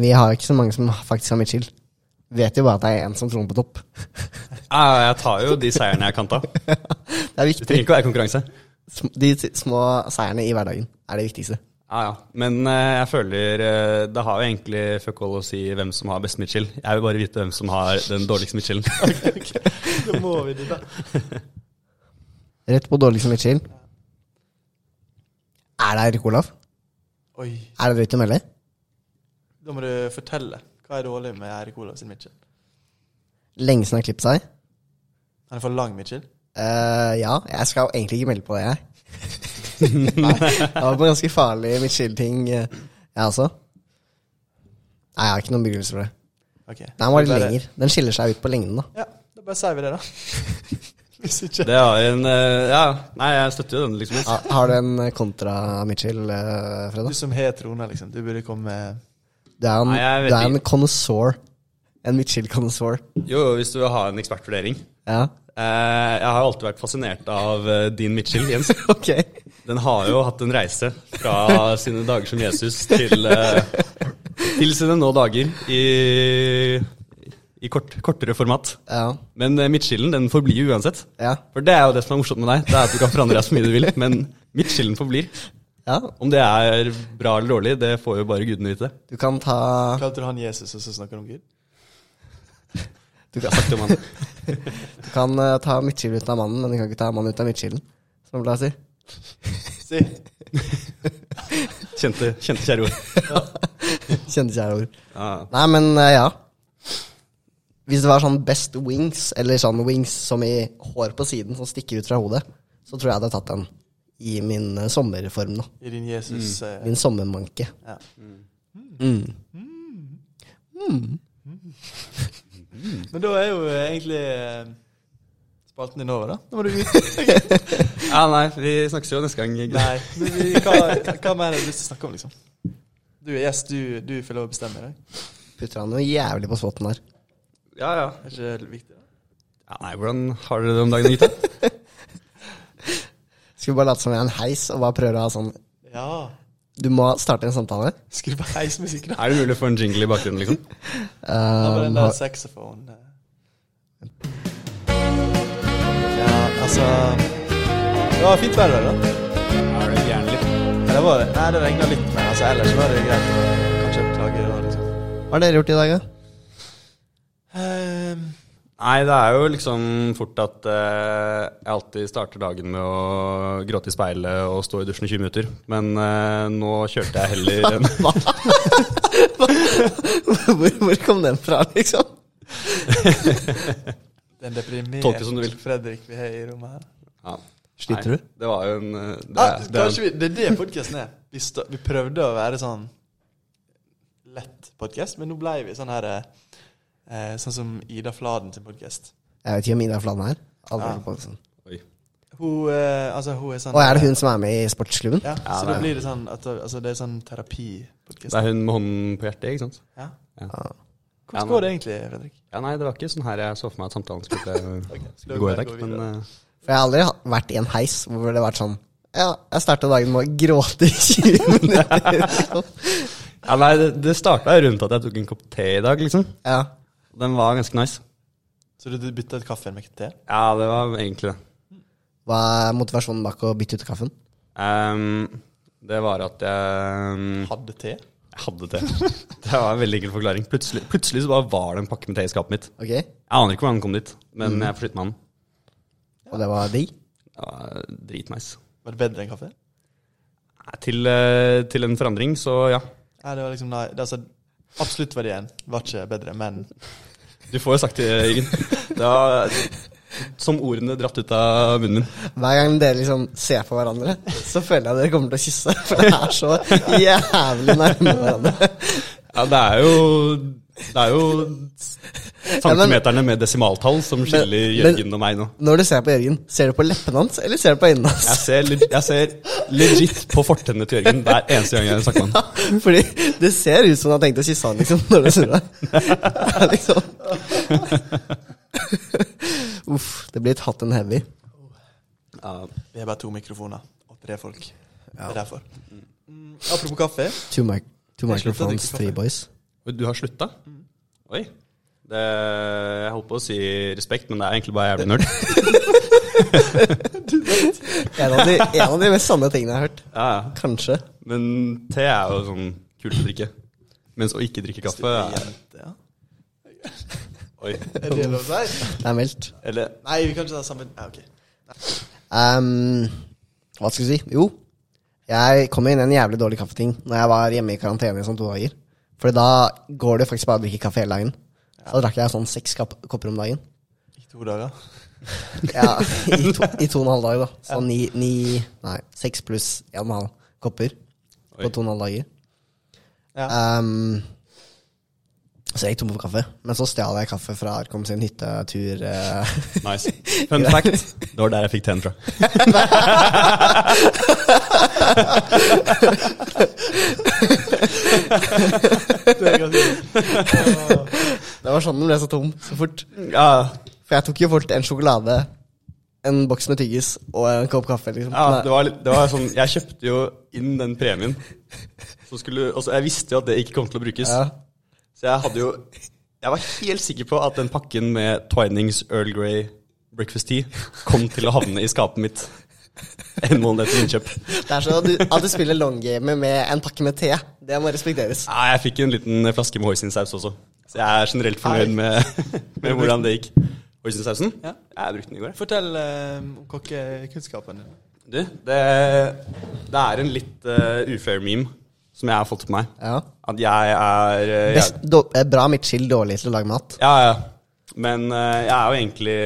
Speaker 2: vi har ikke så mange som faktisk har Mitchell. Vet jo bare at det er én som troner på topp. (laughs)
Speaker 4: Ja, jeg tar jo de seierne jeg kan ta. Det
Speaker 2: Det er viktig.
Speaker 4: trenger ikke å være konkurranse.
Speaker 2: Sm- De t- små seierne i hverdagen er det viktigste.
Speaker 4: Ja, ja. Men eh, jeg føler eh, det har jo egentlig fuck all å si hvem som har best midtskill. Jeg vil bare vite hvem som har den dårligste (laughs) midtskillen.
Speaker 1: Da må vi dit, da.
Speaker 2: Rett på dårligste Mitchell. Er det Eirik Olav?
Speaker 1: (laughs) Oi.
Speaker 2: Er det drøyt å melde?
Speaker 1: Da må du fortelle. Hva er dårlig med Eirik Olav sin Mitchell?
Speaker 2: Lenge siden han har klippet seg.
Speaker 1: Han er for lang, Mitchell.
Speaker 2: Eh, ja, jeg skal jo egentlig ikke melde på det, jeg. (laughs) Nei, det var på ganske farlig Mitchell-ting, eh, jeg også. Nei, jeg har ikke noen begrunnelse for det.
Speaker 1: Ok.
Speaker 2: Den var litt
Speaker 1: Bare-
Speaker 2: lenger. Den skiller seg ut på lengden, da.
Speaker 1: Ja, da bare sier vi (laughs) det, da. Hvis ikke
Speaker 4: Det har en eh, Ja, nei, jeg støtter jo den, liksom.
Speaker 2: Ha, har du en eh, kontra Mitchell, eh,
Speaker 1: Du
Speaker 2: Freda?
Speaker 1: som har trona, liksom. Du burde komme med
Speaker 2: Du er en,
Speaker 4: Nei, jeg vet
Speaker 2: du er en
Speaker 4: ikke.
Speaker 2: connoisseur. En Mitchell-connoisseur.
Speaker 4: Jo, jo, hvis du vil ha en ekspertvurdering.
Speaker 2: Ja, (laughs)
Speaker 4: Eh, jeg har alltid vært fascinert av eh, din midtskill, Jens.
Speaker 2: ok.
Speaker 4: Den har jo hatt en reise fra sine dager som Jesus til, eh, til sine nå dager i, i kort, kortere format.
Speaker 2: Ja,
Speaker 4: Men eh, midtskillen den forblir jo uansett.
Speaker 2: ja.
Speaker 4: For det er jo det som er morsomt med deg. Det er at du kan forandre deg så mye du vil, men midtskillen forblir.
Speaker 2: ja.
Speaker 4: Om det er bra eller dårlig, det får jo bare gudene vite.
Speaker 2: Du kan ta
Speaker 1: Kalte du han Jesus, og så snakker du om Gud?
Speaker 2: Du
Speaker 4: Jeg
Speaker 2: kan,
Speaker 4: har sagt det om han.
Speaker 2: du kan eh, ta Mitchell ut av mannen, men du kan ikke ta mannen ut av Mitchellen, som man pleier å si.
Speaker 1: Si.
Speaker 4: Kjente, kjente kjære ord.
Speaker 2: Kjente kjære ord.
Speaker 4: Ja.
Speaker 2: Nei, men eh, ja. Hvis det var sånn best wings, eller sånn wings som i hår på siden som stikker ut fra hodet, så tror jeg jeg hadde tatt den i min eh, sommerform, da.
Speaker 1: I din Jesus eh,
Speaker 2: Min sommermanke.
Speaker 1: ja.
Speaker 2: Mm.
Speaker 1: Mm. (laughs) Men da er jo eh, egentlig eh, spalten din over, da. Da må du ut.
Speaker 4: ja, nei, vi snakkes jo neste gang. Nei.
Speaker 1: Nei. Men vi, hva, hva mer har du lyst til å snakke om, liksom? Du er gjest, du, du får lov å bestemme i dag.
Speaker 2: Putter han jo jævlig på spotten her.
Speaker 4: Ja, ja.
Speaker 1: Er ikke det viktig? da?
Speaker 4: ja nei, hvordan har dere det om dagen, gutta?
Speaker 2: Skal vi bare late som jeg er en heis, og bare prøve å ha sånn
Speaker 1: Ja.
Speaker 2: Du må starte en samtale.
Speaker 1: Skru på heismusikk, da.
Speaker 4: Er det mulig å få en jingle i bakgrunnen, liksom?
Speaker 1: Da var
Speaker 2: Um,
Speaker 1: den der saxophone eh. Ja, altså Det var fint vær i dag, da.
Speaker 4: Er det gjerne litt?
Speaker 1: Eller var det? Nei, det regna litt, men altså, ellers var det greit. å Kanskje beklage det. da, liksom.
Speaker 2: hva har dere gjort i dag, da? (laughs)
Speaker 1: Ehm,
Speaker 4: Nei, det er jo liksom fort at eh, jeg alltid starter dagen med å gråte i speilet og stå i dusjen i 20 minutter. Men eh, nå kjørte jeg
Speaker 1: (laughs)
Speaker 4: heller en
Speaker 2: Hvor, hvor kom den fra, liksom?
Speaker 1: den deprimerte
Speaker 4: Tolk det som du vil.
Speaker 1: Fredrik vi har i rommet her.
Speaker 4: ja.
Speaker 2: Sliter
Speaker 4: Nei,
Speaker 2: du?
Speaker 4: Det var jo en eh, det,
Speaker 1: Ah,
Speaker 4: er- det,
Speaker 1: kanskje
Speaker 4: er-
Speaker 1: vi, det er det podkasten er. Vi, sta- vi prøvde å være sånn lett podkast, men nå ble vi sånn her eh, eh, Sånn som Ida Fladen sin podkast.
Speaker 2: Jeg vet ikke om Ida Fladen er her. Aldri hørt på den. sånn.
Speaker 4: Oi.
Speaker 1: Hun, eh, altså, hun er sånn
Speaker 2: Og er det hun som er med i Sportsklubben?
Speaker 1: Ja,
Speaker 4: Ja,
Speaker 1: så
Speaker 4: det
Speaker 1: da
Speaker 4: er-
Speaker 1: blir det sånn at, altså, Det er sånn terapipodkast.
Speaker 4: det er hun med hånden på hjertet, ikke sant?
Speaker 1: Ja.
Speaker 4: Ja.
Speaker 2: Ah.
Speaker 4: Ja,
Speaker 1: Hvordan
Speaker 4: men-
Speaker 1: går det egentlig, Fredrik?
Speaker 4: Ja, nei, det var ikke sånn her jeg så for meg at samtalen skulle,
Speaker 1: (laughs) da
Speaker 4: skulle gå i
Speaker 1: bare
Speaker 4: dag.
Speaker 1: går vi
Speaker 4: Men
Speaker 1: videre.
Speaker 4: eh,
Speaker 2: For jeg har aldri ha- vært i en heis hvor det har vært sånn Ja, jeg starta dagen med å gråte i 20 (laughs) minutter. liksom.
Speaker 4: ja, nei, det, det starta rundt at jeg tok en kopp te i dag, liksom.
Speaker 2: ja.
Speaker 4: Den var ganske nice.
Speaker 1: Så du, du bytta ut kaffen med te?
Speaker 4: Ja, det var egentlig det.
Speaker 2: Hva er motivasjonen bak å bytte ut kaffen?
Speaker 4: Ehm, det var at jeg ehm,
Speaker 1: Hadde te?
Speaker 4: Jeg hadde det. Det var en veldig enkel forklaring. Plutselig, plutselig så bare var det en pakke med te i skapet mitt.
Speaker 2: Ok?
Speaker 4: Mm. Jeg aner ikke hvordan den kom dit, men jeg forflyttet meg den.
Speaker 2: Og det var digg.
Speaker 4: Ja, dritnice.
Speaker 1: Var det bedre enn kaffe?
Speaker 4: Nei, Til, eh, til en forandring, så ja.
Speaker 1: Nei, det var liksom nei, det, altså, Absoluttverdien var ikke bedre, men
Speaker 4: Du får jo sagt det, (laughs) Jørgen. Det var som ordene dratt ut av munnen min.
Speaker 2: Hver gang dere liksom ser på hverandre, så føler jeg dere kommer til å kysse. For det er så jævlig nærme hverandre.
Speaker 4: Ja, det er jo Det er jo centimeterne med desimaltall som skiller
Speaker 2: Men- men-
Speaker 4: Jørgen og meg nå.
Speaker 2: Når du ser på Jørgen, ser du på leppene hans, eller ser du på øynene
Speaker 4: Jeg
Speaker 2: hans?
Speaker 4: ser, leg- jeg ser legit på fortennene til Jørgen hver eneste gang jeg snakker med ham.
Speaker 2: (laughs) Fordi det ser ut som du har tenkt å kysse han, liksom, når du snur deg. Det er liksom Uff, det blir et hot and heavy.
Speaker 4: Ja,
Speaker 1: vi har bare to mikrofoner og tre folk. Det er derfor. Mm, apropos kaffe.
Speaker 2: Two, mic two
Speaker 1: Jeg sluttet å
Speaker 2: microphones,
Speaker 1: drikke
Speaker 2: three
Speaker 1: kaffe.
Speaker 2: boys.
Speaker 4: Du har slutta? Oi. Det, jeg holdt på å si respekt, men det er egentlig bare jævlig (laughs) nerd.
Speaker 2: En av, de, en av de mest sanne tingene jeg har hørt.
Speaker 4: Ja, ja.
Speaker 2: Kanskje.
Speaker 4: Men te er jo sånn kult å drikke. Mens å ikke drikke kaffe er
Speaker 1: Jente, ja.
Speaker 4: Oi.
Speaker 1: Er det lov å si?
Speaker 2: Det er meldt.
Speaker 4: Eller
Speaker 1: Nei, vi kan ikke ta sammen. Ja, ok.
Speaker 2: Ehm, hva skal vi si? Jo, jeg kom inn i en jævlig dårlig kaffeting Når jeg var hjemme i karantene i sånn to dager. For da går det faktisk bare å drikke kaffe hele dagen. Så da drakk jeg sånn seks kap- kopper om dagen.
Speaker 1: I to dager.
Speaker 2: Ja, i, to, I to og en halv dag, da. Så ni, ni Nei, seks pluss en og en halv kopper på
Speaker 4: Oi.
Speaker 2: to og en halv dager.
Speaker 1: Ja.
Speaker 2: Ehm, så jeg gikk tom for kaffe. Men så stjal jeg kaffe fra Arkom sin hyttetur. eh,
Speaker 4: nice. Fun fact. Det var der jeg fikk teen (laughs) fra.
Speaker 1: Det er ganske-
Speaker 2: Det var sånn den ble så tom så fort.
Speaker 4: Ja,
Speaker 2: For jeg tok jo fort en sjokolade, en boks med tyggis og en kopp kaffe. liksom.
Speaker 4: ja
Speaker 2: Nei,
Speaker 4: det, var, litt- det var sånn Jeg kjøpte jo inn den premien. Så skulle, altså, jeg visste jo at det ikke kom til å brukes.
Speaker 2: ja.
Speaker 4: Så jeg hadde jo Jeg var helt sikker på at den pakken med Twinings Earl Grey Breakfast Tea kom til å havne i skapet mitt en måned etter innkjøp.
Speaker 2: Det er sånn at du, at du spiller longgamer med en pakke med te. Det må respekteres.
Speaker 4: Nei, jeg fikk en liten flaske med hoisinsaus også. Så jeg er generelt fornøyd med, med hvordan det gikk. Hoisinsausen?
Speaker 1: Ja.
Speaker 4: Jeg brukte den i går. jeg.
Speaker 1: Fortell eh, om kokkekunnskapen din.
Speaker 4: Du, det, det er en litt eh, ufair meme som jeg har fått på meg.
Speaker 2: Ja.
Speaker 4: At jeg er eh, jeg-
Speaker 2: Best, då, eh, bra midtskill, dårlig til å lage mat.
Speaker 4: Ja, ja. Men eh, jeg er jo egentlig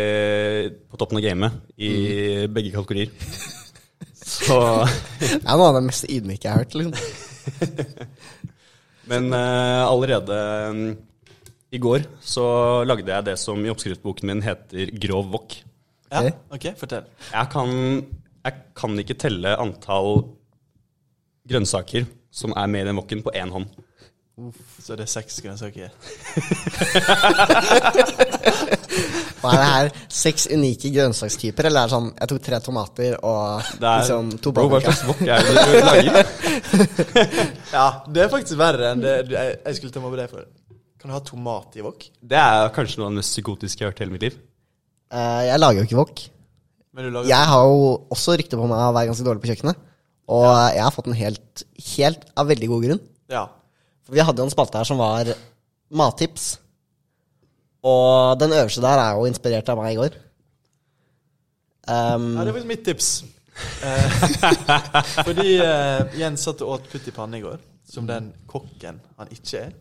Speaker 4: på toppen av gamet i
Speaker 2: Mm.
Speaker 4: begge kategorier. (laughs) Så
Speaker 2: Det er noe av det mest ydmyke jeg har hørt. liksom.
Speaker 4: Men eh, allerede mm, i går så lagde jeg det som i oppskriftboken min heter grov wok.
Speaker 1: Ja,
Speaker 2: Ok.
Speaker 1: ok, fortell.
Speaker 4: Jeg kan, jeg kan ikke telle antall grønnsaker som er med i den woken, på én hånd.
Speaker 1: Så det er seks grønnsaker.
Speaker 2: Hva er det her? Seks unike grønnsakstyper? Eller er det sånn jeg tok tre tomater og
Speaker 4: Det er,
Speaker 2: liksom to
Speaker 4: Bro, hva
Speaker 2: paprika?
Speaker 4: slags wok er det du lager?
Speaker 1: Ja, det er faktisk verre enn det du- jeg, jeg skulle ta meg på deg for. Kan du ha tomat i wok?
Speaker 4: Det er kanskje noe av det mest psykotiske jeg har hørt i hele mitt liv.
Speaker 2: Eh, jeg lager jo ikke wok.
Speaker 1: Men du lager
Speaker 2: Jeg har jo også rykte på meg å være ganske dårlig på kjøkkenet. Og jeg har fått den helt, helt av veldig god grunn.
Speaker 1: Ja.
Speaker 2: For vi hadde jo en spalte her som var mattips. Og den øverste der er jo inspirert av meg i går. Um,
Speaker 1: ja, det er faktisk mitt tips. Eh, (laughs) fordi eh, Jens satt og åt putt i panne i går, som den kokken han ikke er.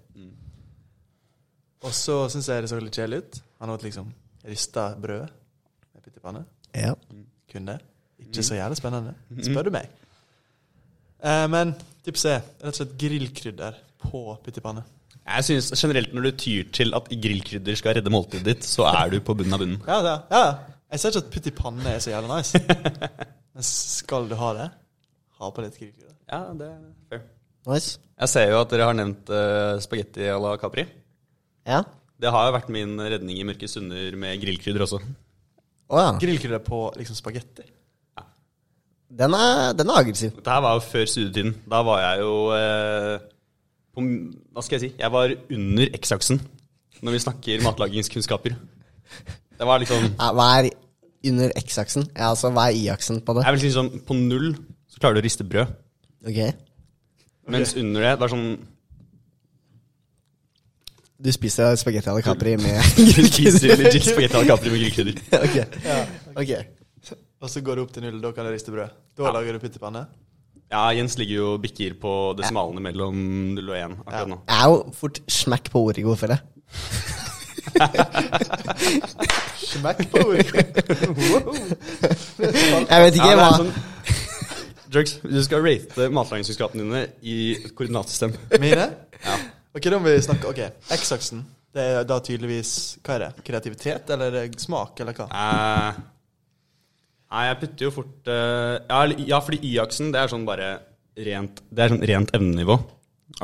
Speaker 1: Og så syns jeg det så litt kjedelig ut. Han åt liksom rista brød med putt i panne.
Speaker 2: ja.
Speaker 1: Kun det. Ikke så jævlig spennende, spør du meg. Eh, men tipset er rett og slett grillkrydder på putt i panne.
Speaker 4: Jeg synes generelt Når du tyr til at grillkrydder skal redde måltidet ditt, så er du på bunnen av bunnen.
Speaker 1: Ja, ja, ja. Jeg ser ikke at putt i panne er så jævlig (laughs) nice. Men skal du ha det, ha på litt grillkrydder.
Speaker 4: Ja, det er fair.
Speaker 2: Nice.
Speaker 4: Jeg ser jo at dere har nevnt uh, spagetti à la Capri.
Speaker 2: Ja.
Speaker 4: Det har jo vært min redning i mørke stunder med grillkrydder også.
Speaker 2: Å ja.
Speaker 1: Grillkrydder på liksom spagetti.
Speaker 2: Den er, den er aggressiv.
Speaker 4: Dette her var jo før studietiden. Da var jeg jo eh, på, Hva skal jeg si? Jeg var under X-aksen når vi snakker matlagingskunnskaper. Det var liksom
Speaker 2: Ja, Hva er under X-aksen? Ja, altså hva er Y-aksen på det?
Speaker 4: Jeg vil si sånn På null så klarer du å riste brød.
Speaker 2: Ok.
Speaker 4: Mens under det, det er sånn
Speaker 2: Du spiser (laughs) spagetti à la Capri med (laughs)
Speaker 4: Du spiser legit spagetti à la Capri med grillkrydder.
Speaker 2: Ok. Ok.
Speaker 1: og så går det opp til null. Da kan du riste brød. Da lager du pyttipanne.
Speaker 4: Ja, Jens ligger jo og bikker på desimalene mellom 0 og 1 akkurat nå.
Speaker 2: Jeg er jo fort smekk på ordet i går, føler jeg.
Speaker 1: Smekk på ordet.
Speaker 2: Jeg vet ikke
Speaker 4: Ja, det
Speaker 2: hva
Speaker 4: er sånn- (laughs) Drugs, du skal rate matlagingsuskapene dine i et koordinatsystem.
Speaker 1: (laughs) Mine? Ok, da må vi snakke Ok, X-aksen. Det er da tydeligvis Hva er det? Kreativitet? Eller er det smak? Eller hva?
Speaker 4: Eh, nei, jeg putter jo fort eh, ja, eller- ja, fordi Y-aksen, det er sånn bare rent Det er sånn rent evnenivå.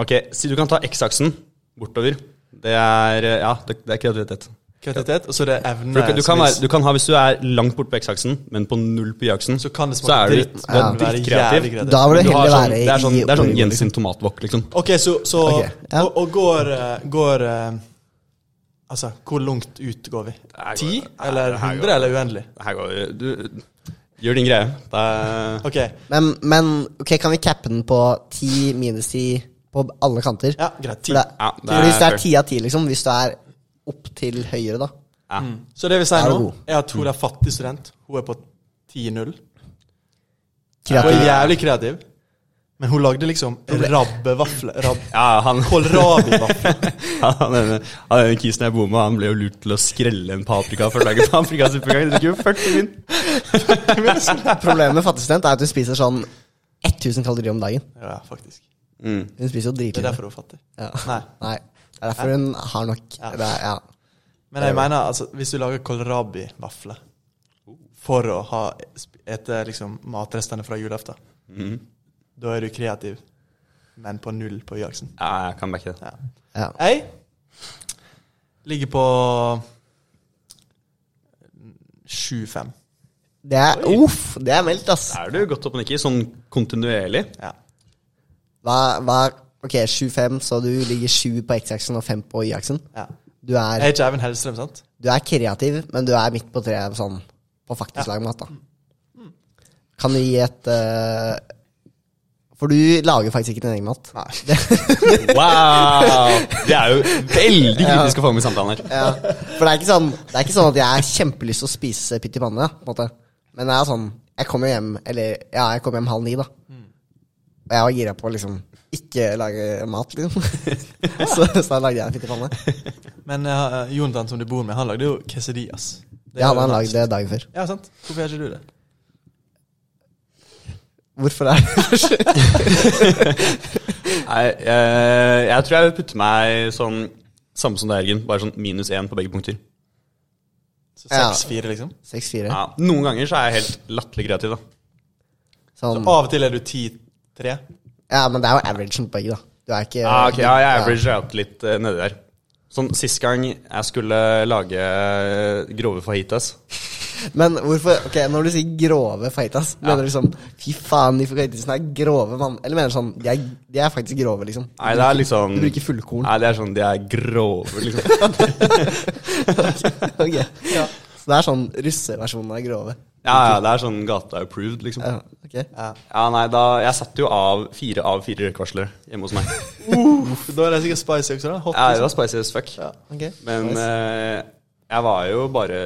Speaker 4: Ok, si du kan ta X-aksen bortover. Det er eh, Ja, det, det er kreativitet.
Speaker 1: Kreativitet, og så er det
Speaker 4: For
Speaker 1: evne.
Speaker 4: du, kan- du, kan være, du kan ha, Hvis du er langt bort på X-aksen, men på null på Y-aksen,
Speaker 1: Så kan det
Speaker 4: så er
Speaker 1: smake
Speaker 4: du
Speaker 1: dritt.
Speaker 4: dritt- du er
Speaker 1: men være
Speaker 4: drittkreativ.
Speaker 1: jævlig kreativ.
Speaker 2: Da vil det
Speaker 4: Men du har
Speaker 2: heller
Speaker 4: sånn,
Speaker 2: være
Speaker 4: det er sånn, det er sånn
Speaker 2: i
Speaker 4: Jens sin tomatvok, liksom.
Speaker 1: Ok, så, så
Speaker 2: Ok, ja.
Speaker 1: og, og går, eh, går eh, Altså, hvor langt ut går vi?
Speaker 4: her går-
Speaker 1: Ti?
Speaker 4: her-
Speaker 1: Eller
Speaker 4: her går-
Speaker 1: hundre? Eller uendelig?
Speaker 4: Her går det- Du gjør din greie. Det er
Speaker 1: Ok,
Speaker 2: men, men ok, kan vi cappe den på 10 minus 10 på alle kanter?
Speaker 1: ja, greit. Ti.
Speaker 2: For det,
Speaker 4: Ja, det
Speaker 2: for hvis det
Speaker 4: er
Speaker 2: er 10 av 10, liksom, hvis du er opp til høyre, da
Speaker 4: ja.
Speaker 1: Så det vi
Speaker 2: Er
Speaker 1: sier
Speaker 2: du
Speaker 1: nå,
Speaker 2: god?
Speaker 1: er at hun er fattig student. Hun er på 10-0. Hun
Speaker 4: (laughs)
Speaker 2: Kreativ.
Speaker 1: er jævlig kreativ. Men hun lagde liksom rabbevafler. Rab (laughs)
Speaker 4: ja han,
Speaker 1: Kålrabivafler.
Speaker 4: (laughs) han ene han ene kisen jeg bor med, han ble jo lurt til å skrelle en paprika for å lage paprikasuppe. Det gikk jo 40 min.
Speaker 2: Problemet med fattigstudent er at hun spiser sånn 1000 kalorier om dagen.
Speaker 1: Ja, faktisk.
Speaker 2: Hun spiser jo
Speaker 1: Det er
Speaker 2: dritlite.
Speaker 1: derfor hun er fattig.
Speaker 2: Ja.
Speaker 1: Nei.
Speaker 2: Nei. Det er derfor hun har nok. Det er, ja.
Speaker 1: Men jeg mener, altså, hvis du lager kålrabivafler for å ha ete liksom, matrestene fra julaften, Mhm. da er du kreativ, men på null på Y-aksen.
Speaker 4: Ja, jeg kan backe det.
Speaker 1: Ja.
Speaker 2: Ja.
Speaker 1: Jeg ligger på 7-5.
Speaker 2: Det er, uff, det er meldt, ass.
Speaker 4: Er du godt opp og nikker sånn kontinuerlig?
Speaker 1: Ja.
Speaker 2: Hva, hva, ok, 7-5, så du ligger 7 på X-aksen og 5 på Y-aksen.
Speaker 1: ja.
Speaker 2: Du
Speaker 1: Jeg
Speaker 2: er,
Speaker 1: er ikke Even Hellstrøm, sant?
Speaker 2: du er kreativ, men du er midt på treet sånn, på faktisk lag med hatt, da. Kan du gi et eh, For du lager faktisk ikke din egen mat. (laughs) Det,
Speaker 4: Wow! Det er jo veldig kritisk å få med i samtalen her.
Speaker 2: ja. For det er, ikke sånn, det er ikke sånn at jeg har kjempelyst til å spise pytt i panne, på en måte. Men det er sånn Jeg kommer hjem Eller ja, jeg kommer hjem halv ni, da. Og jeg var gira på å liksom ikke lage mat, liksom. (laughs) så, så da lagde jeg en pytt i panne.
Speaker 1: Men eh, Jonathan, som du bor med, han lagde jo quesadillas. Det er
Speaker 2: Det
Speaker 1: jo
Speaker 2: hadde han
Speaker 1: nice.
Speaker 2: lagd det dagen før.
Speaker 1: Ja, sant? Hvorfor gjør ikke du det?
Speaker 2: Hvorfor er det
Speaker 4: Nei, eh, jeg tror jeg vil putte meg sånn samme som deg, Jørgen. Bare sånn minus én på begge punkter.
Speaker 1: Så
Speaker 2: Ja.
Speaker 1: 6-4, liksom?
Speaker 2: 6-4?
Speaker 4: Ja, noen ganger så er jeg helt latterlig kreativ, da.
Speaker 2: Sånn.
Speaker 1: Av og til er du 10-3.
Speaker 2: Ja, men det er jo averagen på begge, da. Du er ikke
Speaker 4: Ja, Ah, ok, ja, jeg averager out litt eh, nedi der. Sånn Sist gang jeg skulle lage eh, grove fajitas
Speaker 2: Men hvorfor Ok, når du sier grove fajitas, mener du liksom Fy faen, de fajitasene er grove, mann. Eller mener du sånn De er, de er faktisk grove,
Speaker 4: (laughs)
Speaker 2: liksom.
Speaker 4: Nei, det er liksom
Speaker 2: Du bruker fullkorn.
Speaker 4: Nei, det er sånn, de er grove, liksom. (laughs)
Speaker 2: Ok. Så det er sånn russeversjonen av grove.
Speaker 4: Ja, ja, det er sånn gata approved, liksom.
Speaker 2: Ja, ok.
Speaker 4: Ja, nei, da Jeg satte jo av fire av fire røykvarslere
Speaker 2: (laughs)
Speaker 4: hjemme hos meg.
Speaker 1: Da er det sikkert spicy også, da. Hot,
Speaker 4: Ja, det
Speaker 1: liksom.
Speaker 4: var spicy as fuck.
Speaker 2: ok.
Speaker 4: Men
Speaker 2: Nice.
Speaker 4: eh, jeg var jo bare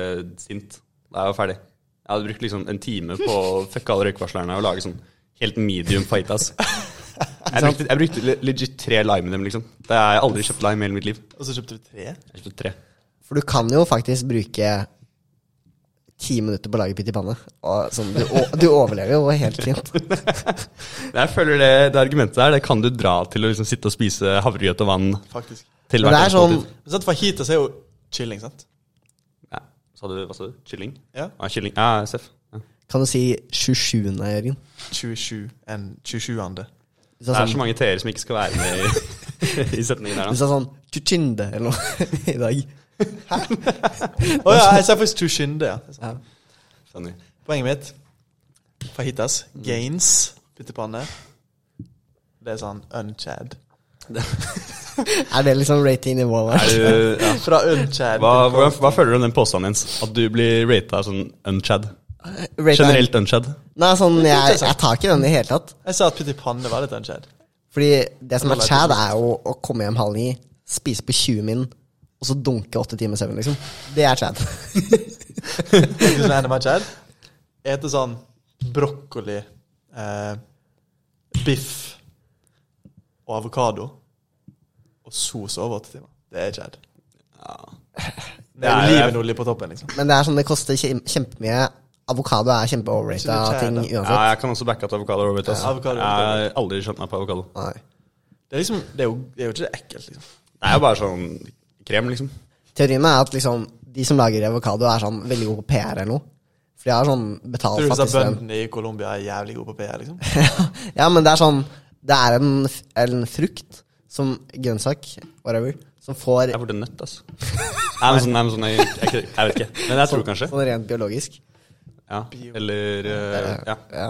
Speaker 4: sint da jeg var ferdig. Jeg hadde brukt liksom en time på å
Speaker 2: (laughs)
Speaker 4: fucke alle røykvarslerne og lage sånn helt medium fajitas. Jeg brukte, jeg brukte le- legit tre lime i dem, liksom. Det har jeg aldri kjøpt lime i hele mitt liv.
Speaker 1: Og så kjøpte vi tre.
Speaker 4: Jeg kjøpte
Speaker 2: (laughs)
Speaker 4: tre.
Speaker 2: For du kan jo faktisk bruke ti minutter på å lage pytt i panne. Og sånn, du, o- du overlever jo
Speaker 4: (laughs)
Speaker 2: helt fint.
Speaker 4: Men jeg føler det, det argumentet der, det kan du dra til å liksom sitte og spise havregrøt og vann
Speaker 1: Faktisk.
Speaker 4: til
Speaker 2: Men det er
Speaker 4: hvert
Speaker 2: sånn
Speaker 4: måltid.
Speaker 1: Men sant, Fajitas er jo chilling, sant?
Speaker 4: Ja. Sa du, hva sa du? Kylling?
Speaker 1: Ja.
Speaker 4: Ja, kylling. Ja, seff. Ja.
Speaker 2: Kan du si 27. Jørgen?
Speaker 1: 27 enn 27.
Speaker 2: Du sa
Speaker 4: Det er så
Speaker 2: sånn,
Speaker 4: mange t-er som ikke skal være med i, (laughs) i setningen der
Speaker 2: du
Speaker 4: nå.
Speaker 2: sa sånn «Tjutsjinde» eller noe (laughs) i dag.
Speaker 1: Å ja, jeg sa faktisk tushinde, ja. Det er sant.
Speaker 2: (laughs)
Speaker 4: Skjønner.
Speaker 1: Poenget mitt Fajitas.
Speaker 2: Mm.
Speaker 1: Gains. Pyttipanne. Det er sånn unchad.
Speaker 2: Er det liksom rating-nivået
Speaker 4: Er
Speaker 2: vårt?
Speaker 4: du, ja.
Speaker 1: Fra unchad
Speaker 4: Hva, hva, hva føler du om den påstanden, Jens? At du blir rata sånn unchad?
Speaker 2: (laughs) Rating-
Speaker 4: Generelt unchad?
Speaker 2: Nei, sånn, jeg, jeg tar ikke den i det hele tatt.
Speaker 1: Jeg sa at pyttipanne var litt unchad.
Speaker 2: Fordi det som er chad, er jo å komme hjem halv ni, spise på 20 min, og så dunke åtte timer søvn, liksom. Det er chad.
Speaker 1: Tenker du sånn, er det mer chad? ete sånn brokkoli, eh, biff og avokado og sos over åtte timer. Det er ikke Ed. Det er olivenolje på toppen, liksom.
Speaker 2: (laughs) Men det er sånn det koster kjem- kjempemye. Avokado er
Speaker 1: Så
Speaker 2: kjempeoverrata
Speaker 1: det er
Speaker 2: ting
Speaker 1: da.
Speaker 4: Ja,
Speaker 2: uansett.
Speaker 4: jeg kan også backe at avokado er overbet. Altså.
Speaker 1: Avokado er
Speaker 4: Jeg har aldri skjønt meg på avokado.
Speaker 2: Nei.
Speaker 1: Det er, liksom, det er, jo, det er jo ikke det ekkelt, liksom.
Speaker 4: Det er jo bare sånn krem, liksom.
Speaker 2: Teorien er at liksom, de som lager avokado, er sånn veldig gode på PR eller noe. For de har sånn betalt
Speaker 1: Tror du at
Speaker 2: fattigste venn.
Speaker 1: bøndene i Colombia er jævlig gode på PR, liksom?
Speaker 2: (laughs) ja, men det er sånn Det er en, f- en frukt som grønnsak, whatever, som får
Speaker 4: Jeg burde
Speaker 2: (laughs)
Speaker 4: nødt, altså. Nei, men sånn, nei, men sånn jeg, jeg, jeg, jeg vet ikke. Men jeg tror kanskje.
Speaker 2: sånn rent biologisk.
Speaker 4: Ja. Eller eh, ja.
Speaker 2: Ja.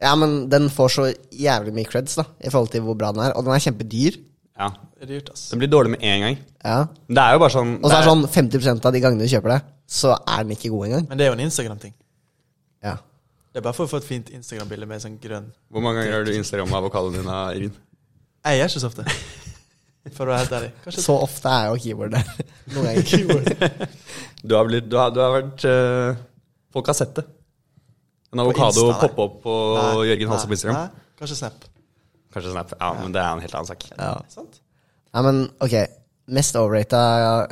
Speaker 2: ja, men den får så jævlig mye creds da i forhold til hvor bra den er. Og den er kjempedyr.
Speaker 4: ja.
Speaker 1: Det er dyrt, ass.
Speaker 4: Den blir dårlig med en gang.
Speaker 2: Ja.
Speaker 4: Men Det er jo bare sånn
Speaker 2: Og så er det sånn 50 av de gangene du kjøper det, så er den ikke god engang.
Speaker 1: Men det er jo en Instagram-ting.
Speaker 2: Ja.
Speaker 1: Det er bare for å få et fint Instagram-bilde med sånn grønn
Speaker 4: Hvor mange ganger har du Instagram avokadoen din, da, Irin?
Speaker 1: Jeg gjør ikke så
Speaker 2: (laughs)
Speaker 1: ofte. For å være helt ærlig. Kanskje
Speaker 2: Så ofte er jo keyboard der. (laughs) Noen ganger. (laughs)
Speaker 4: Du har, blitt, du har, du har vært eh, Folk har sett det. En avokado
Speaker 1: Insta, nei.
Speaker 4: poppe opp på
Speaker 1: Nei,
Speaker 4: Jørgen Halse
Speaker 1: nei,
Speaker 4: på Instagram.
Speaker 1: nei, Kanskje Snap.
Speaker 4: Kanskje Snap. Ja, men det er en helt annen sak.
Speaker 2: Ja.
Speaker 1: Sant?
Speaker 2: Nei, men ok. Mest overrata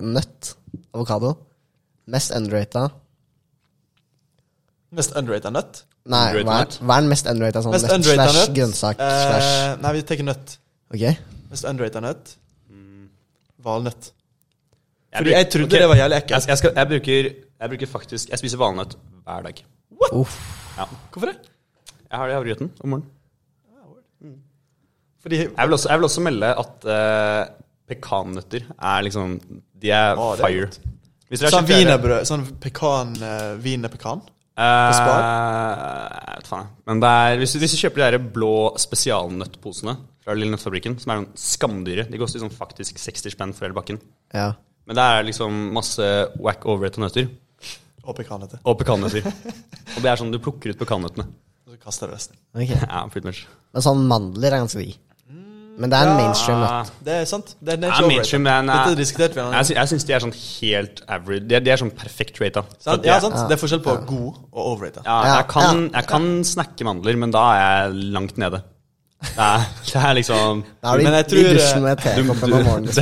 Speaker 2: nøtt. Avokado. Mest underrata
Speaker 1: Mest underrated nøtt.
Speaker 2: Nei,
Speaker 4: Underrated
Speaker 2: hva er,
Speaker 4: nøtt?
Speaker 2: hva er den mest underrata sånn
Speaker 1: Mest
Speaker 2: nøtt
Speaker 1: underrated
Speaker 2: slash
Speaker 1: nøtt.
Speaker 2: grønnsak
Speaker 1: Eh,
Speaker 2: slash
Speaker 1: Nei, vi tar nøtt.
Speaker 2: Ok?
Speaker 1: Mest underrated nøtt.
Speaker 4: Mm.
Speaker 1: Valnøtt.
Speaker 4: Jeg
Speaker 1: Fordi
Speaker 4: bruk-
Speaker 1: jeg trodde
Speaker 4: ok,
Speaker 1: det var jævlig ekkelt.
Speaker 4: Jeg, jeg, skal, jeg, bruker, jeg bruker faktisk Jeg spiser valnøtt hver dag. Ja.
Speaker 1: Hvorfor det?
Speaker 4: Jeg har det i havregrøten om morgenen.
Speaker 1: Fordi
Speaker 4: Jeg vil også, jeg vil også melde at eh, pekannøtter er liksom De er
Speaker 1: Å, det er
Speaker 4: fire.
Speaker 1: godt.
Speaker 4: Hvis
Speaker 1: Sånn
Speaker 4: kjøpt-
Speaker 1: wienerbrød Sånn pekan uh, Wienerpekan.
Speaker 4: Eh,
Speaker 1: Spar?
Speaker 4: jeg vet faen. jeg. Men det er, hvis, du, hvis du kjøper de der blå spesialnøttposene fra Lille Nøttfabrikken, som er sånn skamdyre De koster sånn faktisk 60 spenn for hele bakken.
Speaker 2: Ja.
Speaker 4: Men det er liksom masse whack overrate nøtter.
Speaker 1: Og pekan heter det.
Speaker 4: Og
Speaker 2: (laughs)
Speaker 4: pekannøtter. og det er sånn du plukker ut pekannøttene.
Speaker 1: Og så kaster du resten.
Speaker 2: Ok.
Speaker 4: Ja, pretty much.
Speaker 2: Men sånn mandler er ganske digg. Men det er en mainstream nøtt.
Speaker 4: Ah,
Speaker 1: Det er sant. Det er
Speaker 4: nei,
Speaker 1: nature
Speaker 4: mainstream, men, eh,
Speaker 1: Dette diskuterte vi en
Speaker 4: Jeg,
Speaker 1: annen gang.
Speaker 4: sy jeg syns de er sånn helt average. De er, de er sånn perfect rata.
Speaker 1: Sant? Ja, sant? Det er forskjell på god og overrated.
Speaker 4: Ja,
Speaker 2: Ja,
Speaker 4: jeg kan, jeg kan snakke mandler, men da er jeg langt nede. Det er, det er liksom
Speaker 2: Da er
Speaker 1: Men
Speaker 2: du i
Speaker 1: jeg tror, eh,
Speaker 2: i dusjen med
Speaker 4: du-
Speaker 2: tekoppen
Speaker 4: du-
Speaker 2: om morgenen.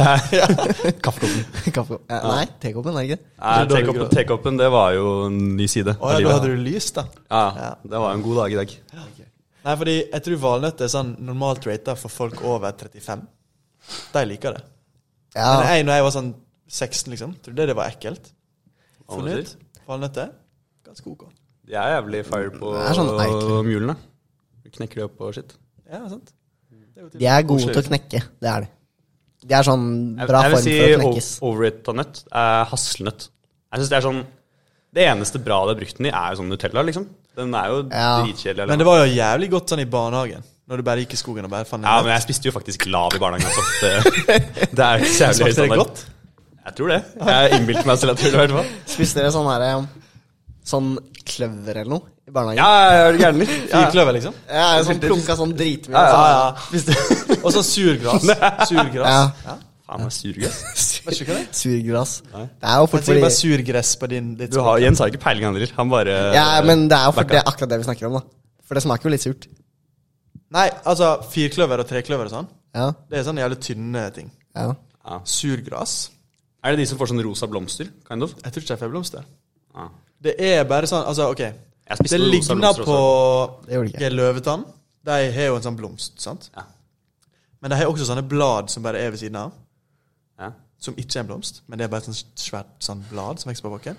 Speaker 2: (laughs)
Speaker 4: det er-
Speaker 1: (laughs)
Speaker 4: Kaffekoppen.
Speaker 2: Kaffe- eh, Nei, tekoppen er det ikke det.
Speaker 4: Nei,
Speaker 1: Det er dårlig
Speaker 4: tekoppen- Tekoppen, det var jo en ny side
Speaker 1: Å
Speaker 4: av
Speaker 1: ja, da hadde
Speaker 4: livet.
Speaker 1: du lys, da.
Speaker 4: Ja, det var en god dag i dag.
Speaker 1: Nei, fordi jeg tror valnøtt er sånn normalt rata for folk over 35. De liker det. Men
Speaker 2: Ja,
Speaker 1: jeg, når jeg var sånn 16, liksom, trodde jeg det var ekkelt. Fornøyd.
Speaker 4: Valnøtter?
Speaker 1: Valnøtter? Ganske ok.
Speaker 4: De er jævlig fire på
Speaker 2: Det er sånn eik.
Speaker 4: hjulene. Du knekker de opp og shit.
Speaker 1: Ja, sant? Det er jo
Speaker 2: de
Speaker 1: typ-
Speaker 2: er gode til å knekke. Det er de. De er sånn bra
Speaker 4: jeg,
Speaker 2: form for
Speaker 4: jeg
Speaker 2: å
Speaker 4: vil
Speaker 2: knekkes.
Speaker 4: si overrata nøtt er hasselnøtt. Jeg synes Det er sånn Det eneste bra det er brukt den i, er jo sånn Nutella, liksom. Den er jo
Speaker 2: Ja.
Speaker 4: dritkjedelig.
Speaker 1: Men
Speaker 4: alene.
Speaker 1: det var jo jævlig godt sånn i barnehagen, når du bare gikk i skogen og bare fant en
Speaker 4: Ja,
Speaker 1: nøtt.
Speaker 4: men jeg spiste jo faktisk lav i barnehagen også. Det, det er ikke så
Speaker 1: Smakte
Speaker 4: jævlig høy
Speaker 1: det
Speaker 4: standard.
Speaker 1: godt?
Speaker 4: Jeg tror det. Jeg innbilte meg selv at jeg gjorde det. i hvert fall.
Speaker 2: Spiste dere sånn her eh, Sånn kløver eller noe i barnehagen?
Speaker 4: Ja, jeg er gæren litt. Ja.
Speaker 1: Fyrkløver, liksom?
Speaker 2: Ja, jeg sånn plunka sånn dritmye.
Speaker 1: Ja, ja,
Speaker 2: sånn.
Speaker 1: ja. (laughs) Og sånn
Speaker 4: (laughs)
Speaker 1: surgras. Surgras. Ja.
Speaker 4: Faen, jeg er surgass.
Speaker 1: Vet ikke hva det er?
Speaker 2: Surgress. Det er jo
Speaker 1: Jeg
Speaker 2: fort
Speaker 1: tenker bare
Speaker 2: fordi
Speaker 1: surgress på din ditt
Speaker 4: Du har, Jens har ikke peiling, han heller. Han bare
Speaker 2: Ja, men det er jo
Speaker 4: Backa.
Speaker 2: fort det er akkurat det vi snakker om, da. For det smaker jo litt surt.
Speaker 1: Nei, altså firkløver og trekløver og sånn.
Speaker 2: Ja,
Speaker 1: Det er sånne jævlig tynne ting.
Speaker 2: ja.
Speaker 1: Surgras.
Speaker 4: Er det de som får sånn rosa blomster? Kind of? Ah,
Speaker 1: Jeg tror ikke det er feblomster.
Speaker 4: Ja.
Speaker 1: Det er bare sånn Altså, OK.
Speaker 4: Jeg spiste
Speaker 1: Det
Speaker 4: rosa
Speaker 1: ligner
Speaker 4: blomster
Speaker 1: på
Speaker 2: Det gjorde det ikke.
Speaker 1: løvetann. De har jo en sånn blomst, sant?
Speaker 4: Ja.
Speaker 1: Men de har også sånne blad som bare er ved siden av.
Speaker 4: Ja.
Speaker 1: Som ikke er en blomst, men det er bare et sånt svært sånn blad som vokser på bakken.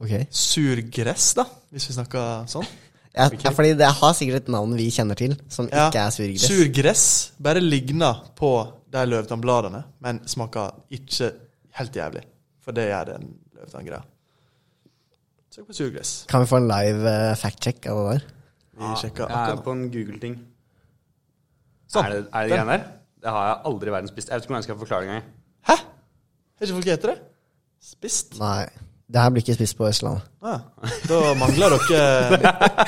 Speaker 2: Ok.
Speaker 1: Surgress, da, hvis vi snakker sånn.
Speaker 2: Ja, ja, fordi det har sikkert et navn vi kjenner til, som
Speaker 1: Ja,
Speaker 2: ikke er surgress.
Speaker 1: Surgress bare ligner på de løvetannbladene, men smaker ikke helt jævlig. For det gjør den løvetanngreia. Søk på surgress.
Speaker 2: Kan vi få en live eh, fact-check av det der?
Speaker 1: Vi sjekker
Speaker 4: Jeg er
Speaker 1: akkurat nå.
Speaker 4: på en Google-ting.
Speaker 1: Sånn.
Speaker 4: Er det er det
Speaker 1: Den.
Speaker 4: greiene der? Det har jeg aldri i verden spist. Jeg vet ikke hvordan jeg skal forklare det engang.
Speaker 1: Hæ? Har ikke folk hete det? Spist?
Speaker 2: Nei. Det her blir ikke spist på Østlandet.
Speaker 1: Ah, da mangler dere
Speaker 4: (laughs)
Speaker 1: Da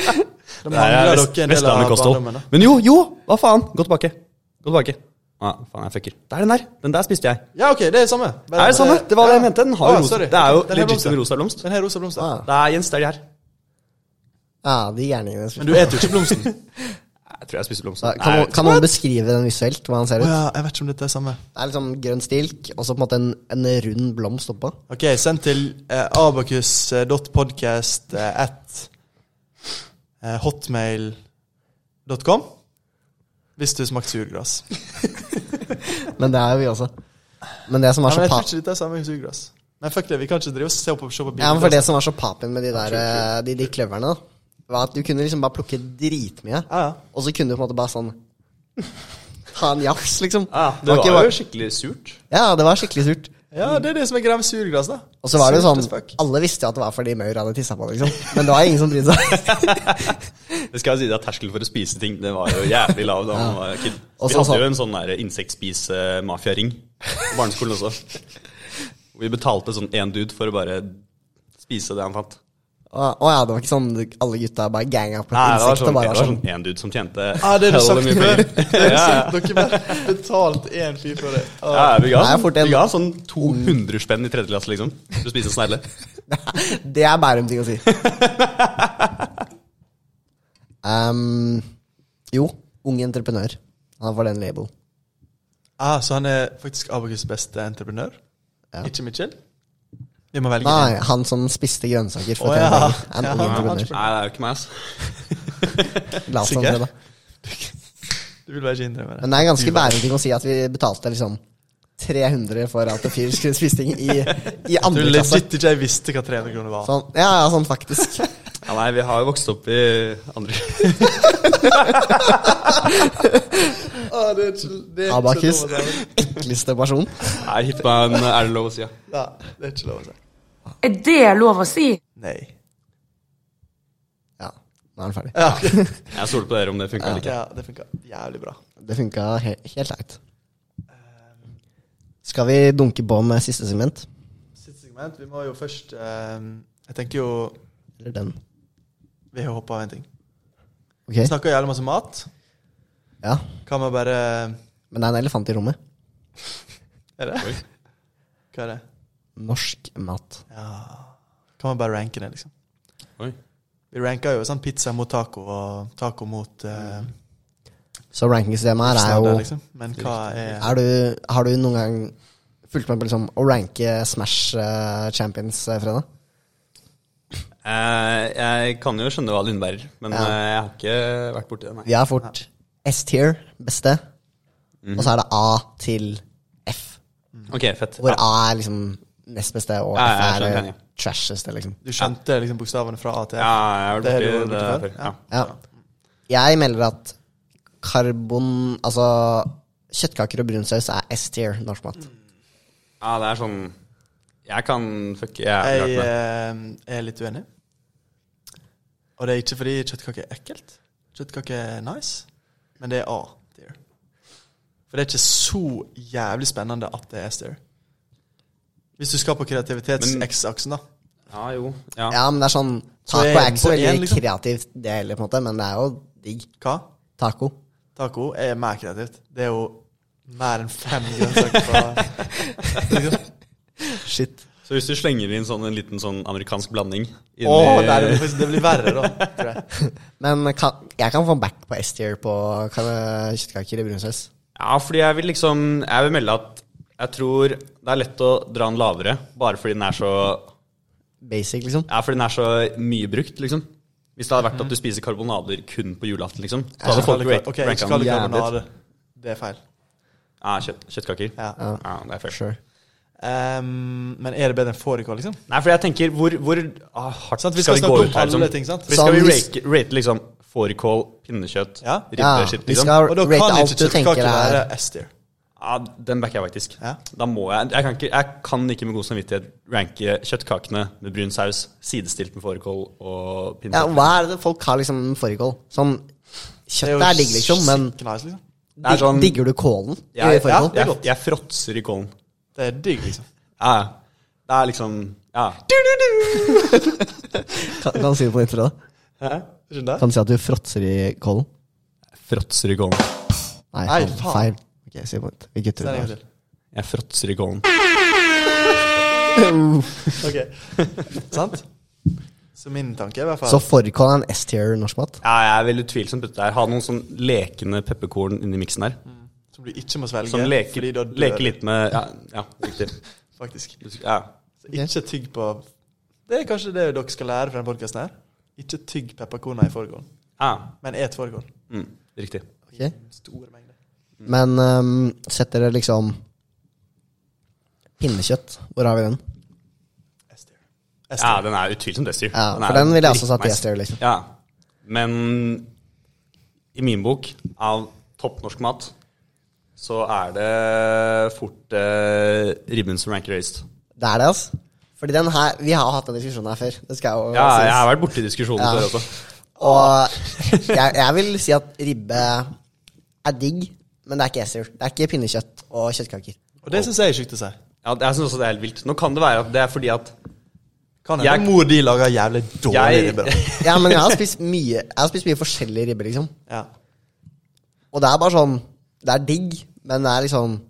Speaker 4: Det er
Speaker 1: mangler
Speaker 4: vest-
Speaker 1: dere en del
Speaker 4: Vestlandet
Speaker 1: av
Speaker 4: kosthold.
Speaker 1: barndommen. da.
Speaker 4: Men jo, jo! Hva faen? Gå tilbake. Gå tilbake. Ja, faen, jeg fucker. Det er den der. Den der spiste jeg.
Speaker 1: Ja, OK, det er det samme. Bare-
Speaker 4: Er det samme? Det var det jeg
Speaker 1: Ja.
Speaker 4: mente. Den har
Speaker 1: Ah,
Speaker 4: jo rosa. Ah.
Speaker 1: sorry.
Speaker 4: Det er jo
Speaker 1: Den har
Speaker 4: legit
Speaker 1: blomster.
Speaker 4: en rosa blomst.
Speaker 1: Den har rosa blomster.
Speaker 2: Ah.
Speaker 4: Det er Jens, det er de her.
Speaker 2: Ja, de gjerningene
Speaker 1: Men
Speaker 2: jeg
Speaker 1: du
Speaker 2: spilte.
Speaker 1: eter jo ikke
Speaker 2: (laughs)
Speaker 1: blomsten.
Speaker 4: Jeg tror jeg spiste
Speaker 2: Da,
Speaker 4: blomster.
Speaker 2: Kan, man- kan man beskrive den visuelt, hva han ser
Speaker 1: Å
Speaker 2: ut?
Speaker 1: ja, jeg vet ikke om dette er samme.
Speaker 2: Det er liksom grønn stilk, og så på en måte en, en rund blomst oppå.
Speaker 1: Ok, send til eh, abakus.podcast eh, at eh, hotmail.com hvis du smakte surgras. Nei,
Speaker 2: Men det er jo vi også. Men det som var
Speaker 1: men
Speaker 2: så
Speaker 1: jeg tror
Speaker 2: pap...
Speaker 1: ikke dette er samme surgras. Men fuck det, vi kan ikke drive og se på, se på
Speaker 2: Ja, men for
Speaker 1: bilder.
Speaker 2: det som var så papen med de der eh, De, de kløverne, da, var at du kunne liksom bare plukke dritmye,
Speaker 1: Ja, ja.
Speaker 2: og så kunne du på en måte bare sånn Ha en jafs, liksom.
Speaker 4: Ja,
Speaker 2: Det var
Speaker 4: Ah, det
Speaker 2: ikke
Speaker 4: var
Speaker 2: bare-
Speaker 4: jo skikkelig surt.
Speaker 2: Ja, det var skikkelig surt.
Speaker 1: ja, det er det som er greia med surgras, da.
Speaker 2: Og så var det jo
Speaker 1: Surt
Speaker 2: sånn
Speaker 1: as fuck.
Speaker 2: Alle visste jo at det var fordi maur hadde tissa på, liksom. Men det var ingen som brydde seg.
Speaker 4: Det skal jeg si, det er terskelen for å spise ting. Det var jo jævlig lav da man var kid.
Speaker 2: Og
Speaker 4: Vi
Speaker 2: så-
Speaker 4: hadde jo en sånn der insektspise-mafia-ring på barneskolen også. Vi betalte sånn én dude for å bare spise det han fant.
Speaker 2: Å å ja, det var ikke sånn alle gutta bare ganga på et
Speaker 4: Nei, det var
Speaker 2: insekt
Speaker 4: sånn,
Speaker 2: og bare
Speaker 4: det
Speaker 2: var
Speaker 4: var
Speaker 2: sånn
Speaker 4: sånn én dude som tjente
Speaker 1: Ja, det har du
Speaker 4: hella
Speaker 1: sagt
Speaker 4: mye
Speaker 1: før.
Speaker 4: penger.
Speaker 1: Det har du
Speaker 4: Ja, ja.
Speaker 1: sagt. Dere bare betalt én fyr for det. Å,
Speaker 4: Ja, vi ga,
Speaker 2: Det er fort en-
Speaker 4: vi ga sånn 200 spenn i tredje klasse, liksom. For å spise en snegle.
Speaker 2: sånn, (laughs) Det er Bærum-ting å si. Ehm, jo, ung entreprenør. Han får den label.
Speaker 1: Ah, så han er faktisk Abakus beste entreprenør?
Speaker 2: Ja.
Speaker 1: Ikke Mitchell? Vi må velge en.
Speaker 2: Nei, Ah, han som spiste grønnsaker. For
Speaker 1: Å,
Speaker 2: oh,
Speaker 1: ja.
Speaker 2: En ung
Speaker 1: Ja,
Speaker 2: entreprenør.
Speaker 4: Nei, det er jo ikke meg, ass.
Speaker 2: La oss
Speaker 1: sikkert.
Speaker 2: sånn det, da.
Speaker 1: Du vil bare ikke innrømme det.
Speaker 2: Men det er ganske Bærum-ting å si at vi betalte liksom 300 for at en fyr skulle spise ting i, i
Speaker 1: Du
Speaker 2: andre klasse.
Speaker 1: legit ikke jeg visste hva 300 kroner var.
Speaker 2: Sånn, ja, ja, sånn faktisk.
Speaker 4: Ja, nei, vi har jo vokst opp i andre
Speaker 1: Ah, det er ikke, det er ikke
Speaker 2: Abakus.
Speaker 1: lov å si.
Speaker 2: Ekleste person.
Speaker 4: Nei, hitman er det lov å si, ja.
Speaker 1: Ja, det er ikke lov å si.
Speaker 3: Er det lov å si?
Speaker 1: Nei.
Speaker 2: Ja, nå er han ferdig.
Speaker 1: Ja, ok.
Speaker 4: Jeg stoler på dere om det funka eller ikke.
Speaker 1: ja det funka jævlig bra.
Speaker 2: Det funka he helt leit.
Speaker 1: Eh,
Speaker 2: Skal vi dunke på med siste segment?
Speaker 1: Sitt segment, vi må jo først eh, Jeg tenker jo
Speaker 2: Eller den?
Speaker 1: Vi har hoppa av en ting.
Speaker 2: Ok,
Speaker 1: Vi snakker jævlig masse mat.
Speaker 2: ja.
Speaker 1: Kan vi bare
Speaker 2: Men det er en elefant i rommet.
Speaker 1: Er det? Hva er det?
Speaker 2: Norsk mat.
Speaker 1: Ja Kan vi bare ranke det, liksom?
Speaker 4: Oi.
Speaker 1: Vi ranka jo sånn pizza mot taco og taco mot eh,
Speaker 2: Så rankingsystemet her er
Speaker 1: snadder,
Speaker 2: jo
Speaker 1: liksom. Men hva er
Speaker 2: er du, Har du noen gang fulgt med på liksom, å ranke Smash eh, Champions, eh, Fredag?
Speaker 4: Eh, jeg kan jo skjønne hva det innebærer, men
Speaker 2: Ja.
Speaker 4: eh, jeg har ikke vært borti det, nei.
Speaker 2: Vi har fort S-tier, beste,
Speaker 4: Mhm.
Speaker 2: og så er det A til F.
Speaker 4: Ok, fett.
Speaker 2: Hvor A er liksom nest beste, og
Speaker 4: Ja, ja, jeg
Speaker 2: F er
Speaker 4: skjønner,
Speaker 2: eh,
Speaker 4: ja.
Speaker 2: trasheste, liksom.
Speaker 1: Du skjønte liksom bokstavene fra A til F?
Speaker 4: Ja, jeg har
Speaker 1: Det har
Speaker 4: vært
Speaker 1: du
Speaker 4: borti det
Speaker 1: vært borti
Speaker 4: før.
Speaker 1: før?
Speaker 4: Ja.
Speaker 2: Ja. Jeg melder at karbon Altså kjøttkaker og brunsaus er S-tier norsk mat.
Speaker 4: ja, det er sånn Jeg kan fucke jævlig hardt
Speaker 1: Jeg
Speaker 4: med det.
Speaker 1: eh, er litt uenig. Og det er ikke fordi kjøttkake er ekkelt. Kjøttkake er nice, men det er A. tier. For det er ikke så jævlig spennende at det er S-tier. Hvis du skal på
Speaker 4: Men-
Speaker 1: kreativitets-X-aksen, da.
Speaker 4: Ja, jo. Ja.
Speaker 2: Ja, men det er sånn
Speaker 1: Så
Speaker 2: Taco
Speaker 1: jeg
Speaker 2: er
Speaker 1: er
Speaker 2: ikke så
Speaker 1: på
Speaker 2: veldig
Speaker 1: en, liksom.
Speaker 2: kreativt, det heller, på en måte, men det er jo digg.
Speaker 1: Hva?
Speaker 2: Taco.
Speaker 1: Taco er mer kreativt. Det er jo mer enn fem grønnsaker
Speaker 4: (laughs)
Speaker 1: fra liksom.
Speaker 2: Shit.
Speaker 4: Så hvis du slenger inn sånn, en liten sånn amerikansk blanding inni
Speaker 1: Åh, det, er, det blir verre, da. Tror jeg.
Speaker 2: Men kan, jeg kan få back på S-tier på kan- kjøttkaker i brunsaus.
Speaker 4: Ja, fordi jeg vil liksom Jeg vil melde at jeg tror det er lett å dra den lavere, bare fordi den er så
Speaker 2: Basic, liksom.
Speaker 4: Ja, fordi den er så mye brukt, liksom. Hvis det hadde vært at du spiser karbonader kun på julaften, liksom. Så hadde folk rank-
Speaker 1: Ok, ikke
Speaker 4: ranka
Speaker 1: kall
Speaker 4: den
Speaker 1: det
Speaker 4: jævlig.
Speaker 1: karbonade. Det er feil.
Speaker 4: Ja, kjøtt, kjøttkaker.
Speaker 1: Ja.
Speaker 4: ja, det er fair.
Speaker 2: Sure.
Speaker 1: Ehm, men er det bedre enn fårikål, liksom?
Speaker 4: Nei, for jeg tenker hvor, hvor ah, hardt
Speaker 1: Sant, vi
Speaker 4: skal,
Speaker 1: skal snakke
Speaker 4: vi gå
Speaker 1: om
Speaker 4: ut her?
Speaker 1: alle ting, sant?
Speaker 4: Vi skal
Speaker 2: Sånn,
Speaker 4: vi
Speaker 2: hvis-
Speaker 4: rate, rate liksom fårikål, pinnekjøtt,
Speaker 1: Ja.
Speaker 4: ribbe,
Speaker 2: Ja,
Speaker 4: shit,
Speaker 2: vi
Speaker 4: liksom?
Speaker 2: skal
Speaker 1: Og da
Speaker 2: rate
Speaker 1: kan
Speaker 2: alt
Speaker 1: ikke
Speaker 2: du tenker
Speaker 1: kjøttkaker være
Speaker 2: er
Speaker 1: S-tier.
Speaker 4: Ja, den backer jeg faktisk.
Speaker 1: Ja.
Speaker 4: Da må jeg jeg kan, ikke, jeg kan ikke med god samvittighet ranke kjøttkakene med brun saus sidestilt med fårikål og
Speaker 2: ja,
Speaker 4: pinnekjøtt.
Speaker 2: Hva er det folk har liksom fårikål? Sånn Kjøttet er digg, liksom, men
Speaker 1: sick nice, liksom.
Speaker 4: Det er sånn-
Speaker 2: digger du kålen i
Speaker 4: jeg,
Speaker 2: fårikål?
Speaker 1: det er
Speaker 4: jeg,
Speaker 1: godt.
Speaker 4: jeg fråtser i kålen.
Speaker 1: Det er digg, liksom.
Speaker 4: Ja, ja. det er liksom Ja.
Speaker 2: Kan, kan du si det på nytt, Freda?
Speaker 1: Skjønner du?
Speaker 2: Kan du si at du fråtser i kålen?
Speaker 4: Fråtser i kålen.
Speaker 2: Nei,
Speaker 1: Nei,
Speaker 2: faen.
Speaker 1: faen.
Speaker 2: feil. Ok, si det på nytt. Vi kutter
Speaker 1: Det er en
Speaker 2: ut
Speaker 1: gang
Speaker 2: det.
Speaker 1: til.
Speaker 4: Jeg fråtser i kålen.
Speaker 2: (laughs)
Speaker 1: Ok. Sant? Så Så min tanke er i hvert fall
Speaker 2: Så fårikål er en S-tier norskmat.
Speaker 4: Ja, jeg er veldig tvilsom på dette her. Ha noen sånn lekende pepperkorn inni miksen her.
Speaker 1: Som du ikke må svelge.
Speaker 4: Som leker,
Speaker 1: Mm. fordi da dør
Speaker 4: leker
Speaker 1: du,
Speaker 4: litt med Ja, ja riktig.
Speaker 1: Faktisk.
Speaker 4: Ja.
Speaker 1: Så ikke tygg på Det er kanskje det dere skal lære fra denne podkasten her. Ikke tygg pepperkorner i fårikålen,
Speaker 4: ja.
Speaker 1: men et fårikål.
Speaker 4: Mm. Riktig.
Speaker 2: Ok?
Speaker 1: Store mengder.
Speaker 2: Men um, sett dere liksom Pinnekjøtt, hvor har vi den?
Speaker 1: S-tier.
Speaker 4: Ja, den er utvilsomt dessert.
Speaker 2: Ja, for den ville jeg også satt i
Speaker 4: dritnice.
Speaker 2: S-tier, liksom.
Speaker 4: Ja. Men i min bok, av topp norsk mat, så er det fort eh, ribben som ranker høyest.
Speaker 2: Det er det, altså. Fordi den her, Vi har hatt den diskusjonen her før. Det skal jo
Speaker 4: Ja, jeg har
Speaker 2: sies.
Speaker 4: vært borti diskusjonen
Speaker 2: Ja.
Speaker 4: før også.
Speaker 2: Og jeg, jeg vil si at ribbe er digg, men det er ikke S-tier. Det er ikke pinnekjøtt og kjøttkaker.
Speaker 1: Og det syns jeg er sjukt å si.
Speaker 4: Ja, jeg syns også det er helt vilt. Nå kan det være at det er fordi at
Speaker 1: Kan
Speaker 4: Jeg-
Speaker 1: hende mor di lager jævlig dårlig
Speaker 4: Jeg-
Speaker 1: ribbe. da.
Speaker 4: (laughs)
Speaker 2: Ja, men jeg har spist mye Jeg har spist mye forskjellige ribber, liksom.
Speaker 1: Ja.
Speaker 2: Og det er bare sånn Det er digg, men det er liksom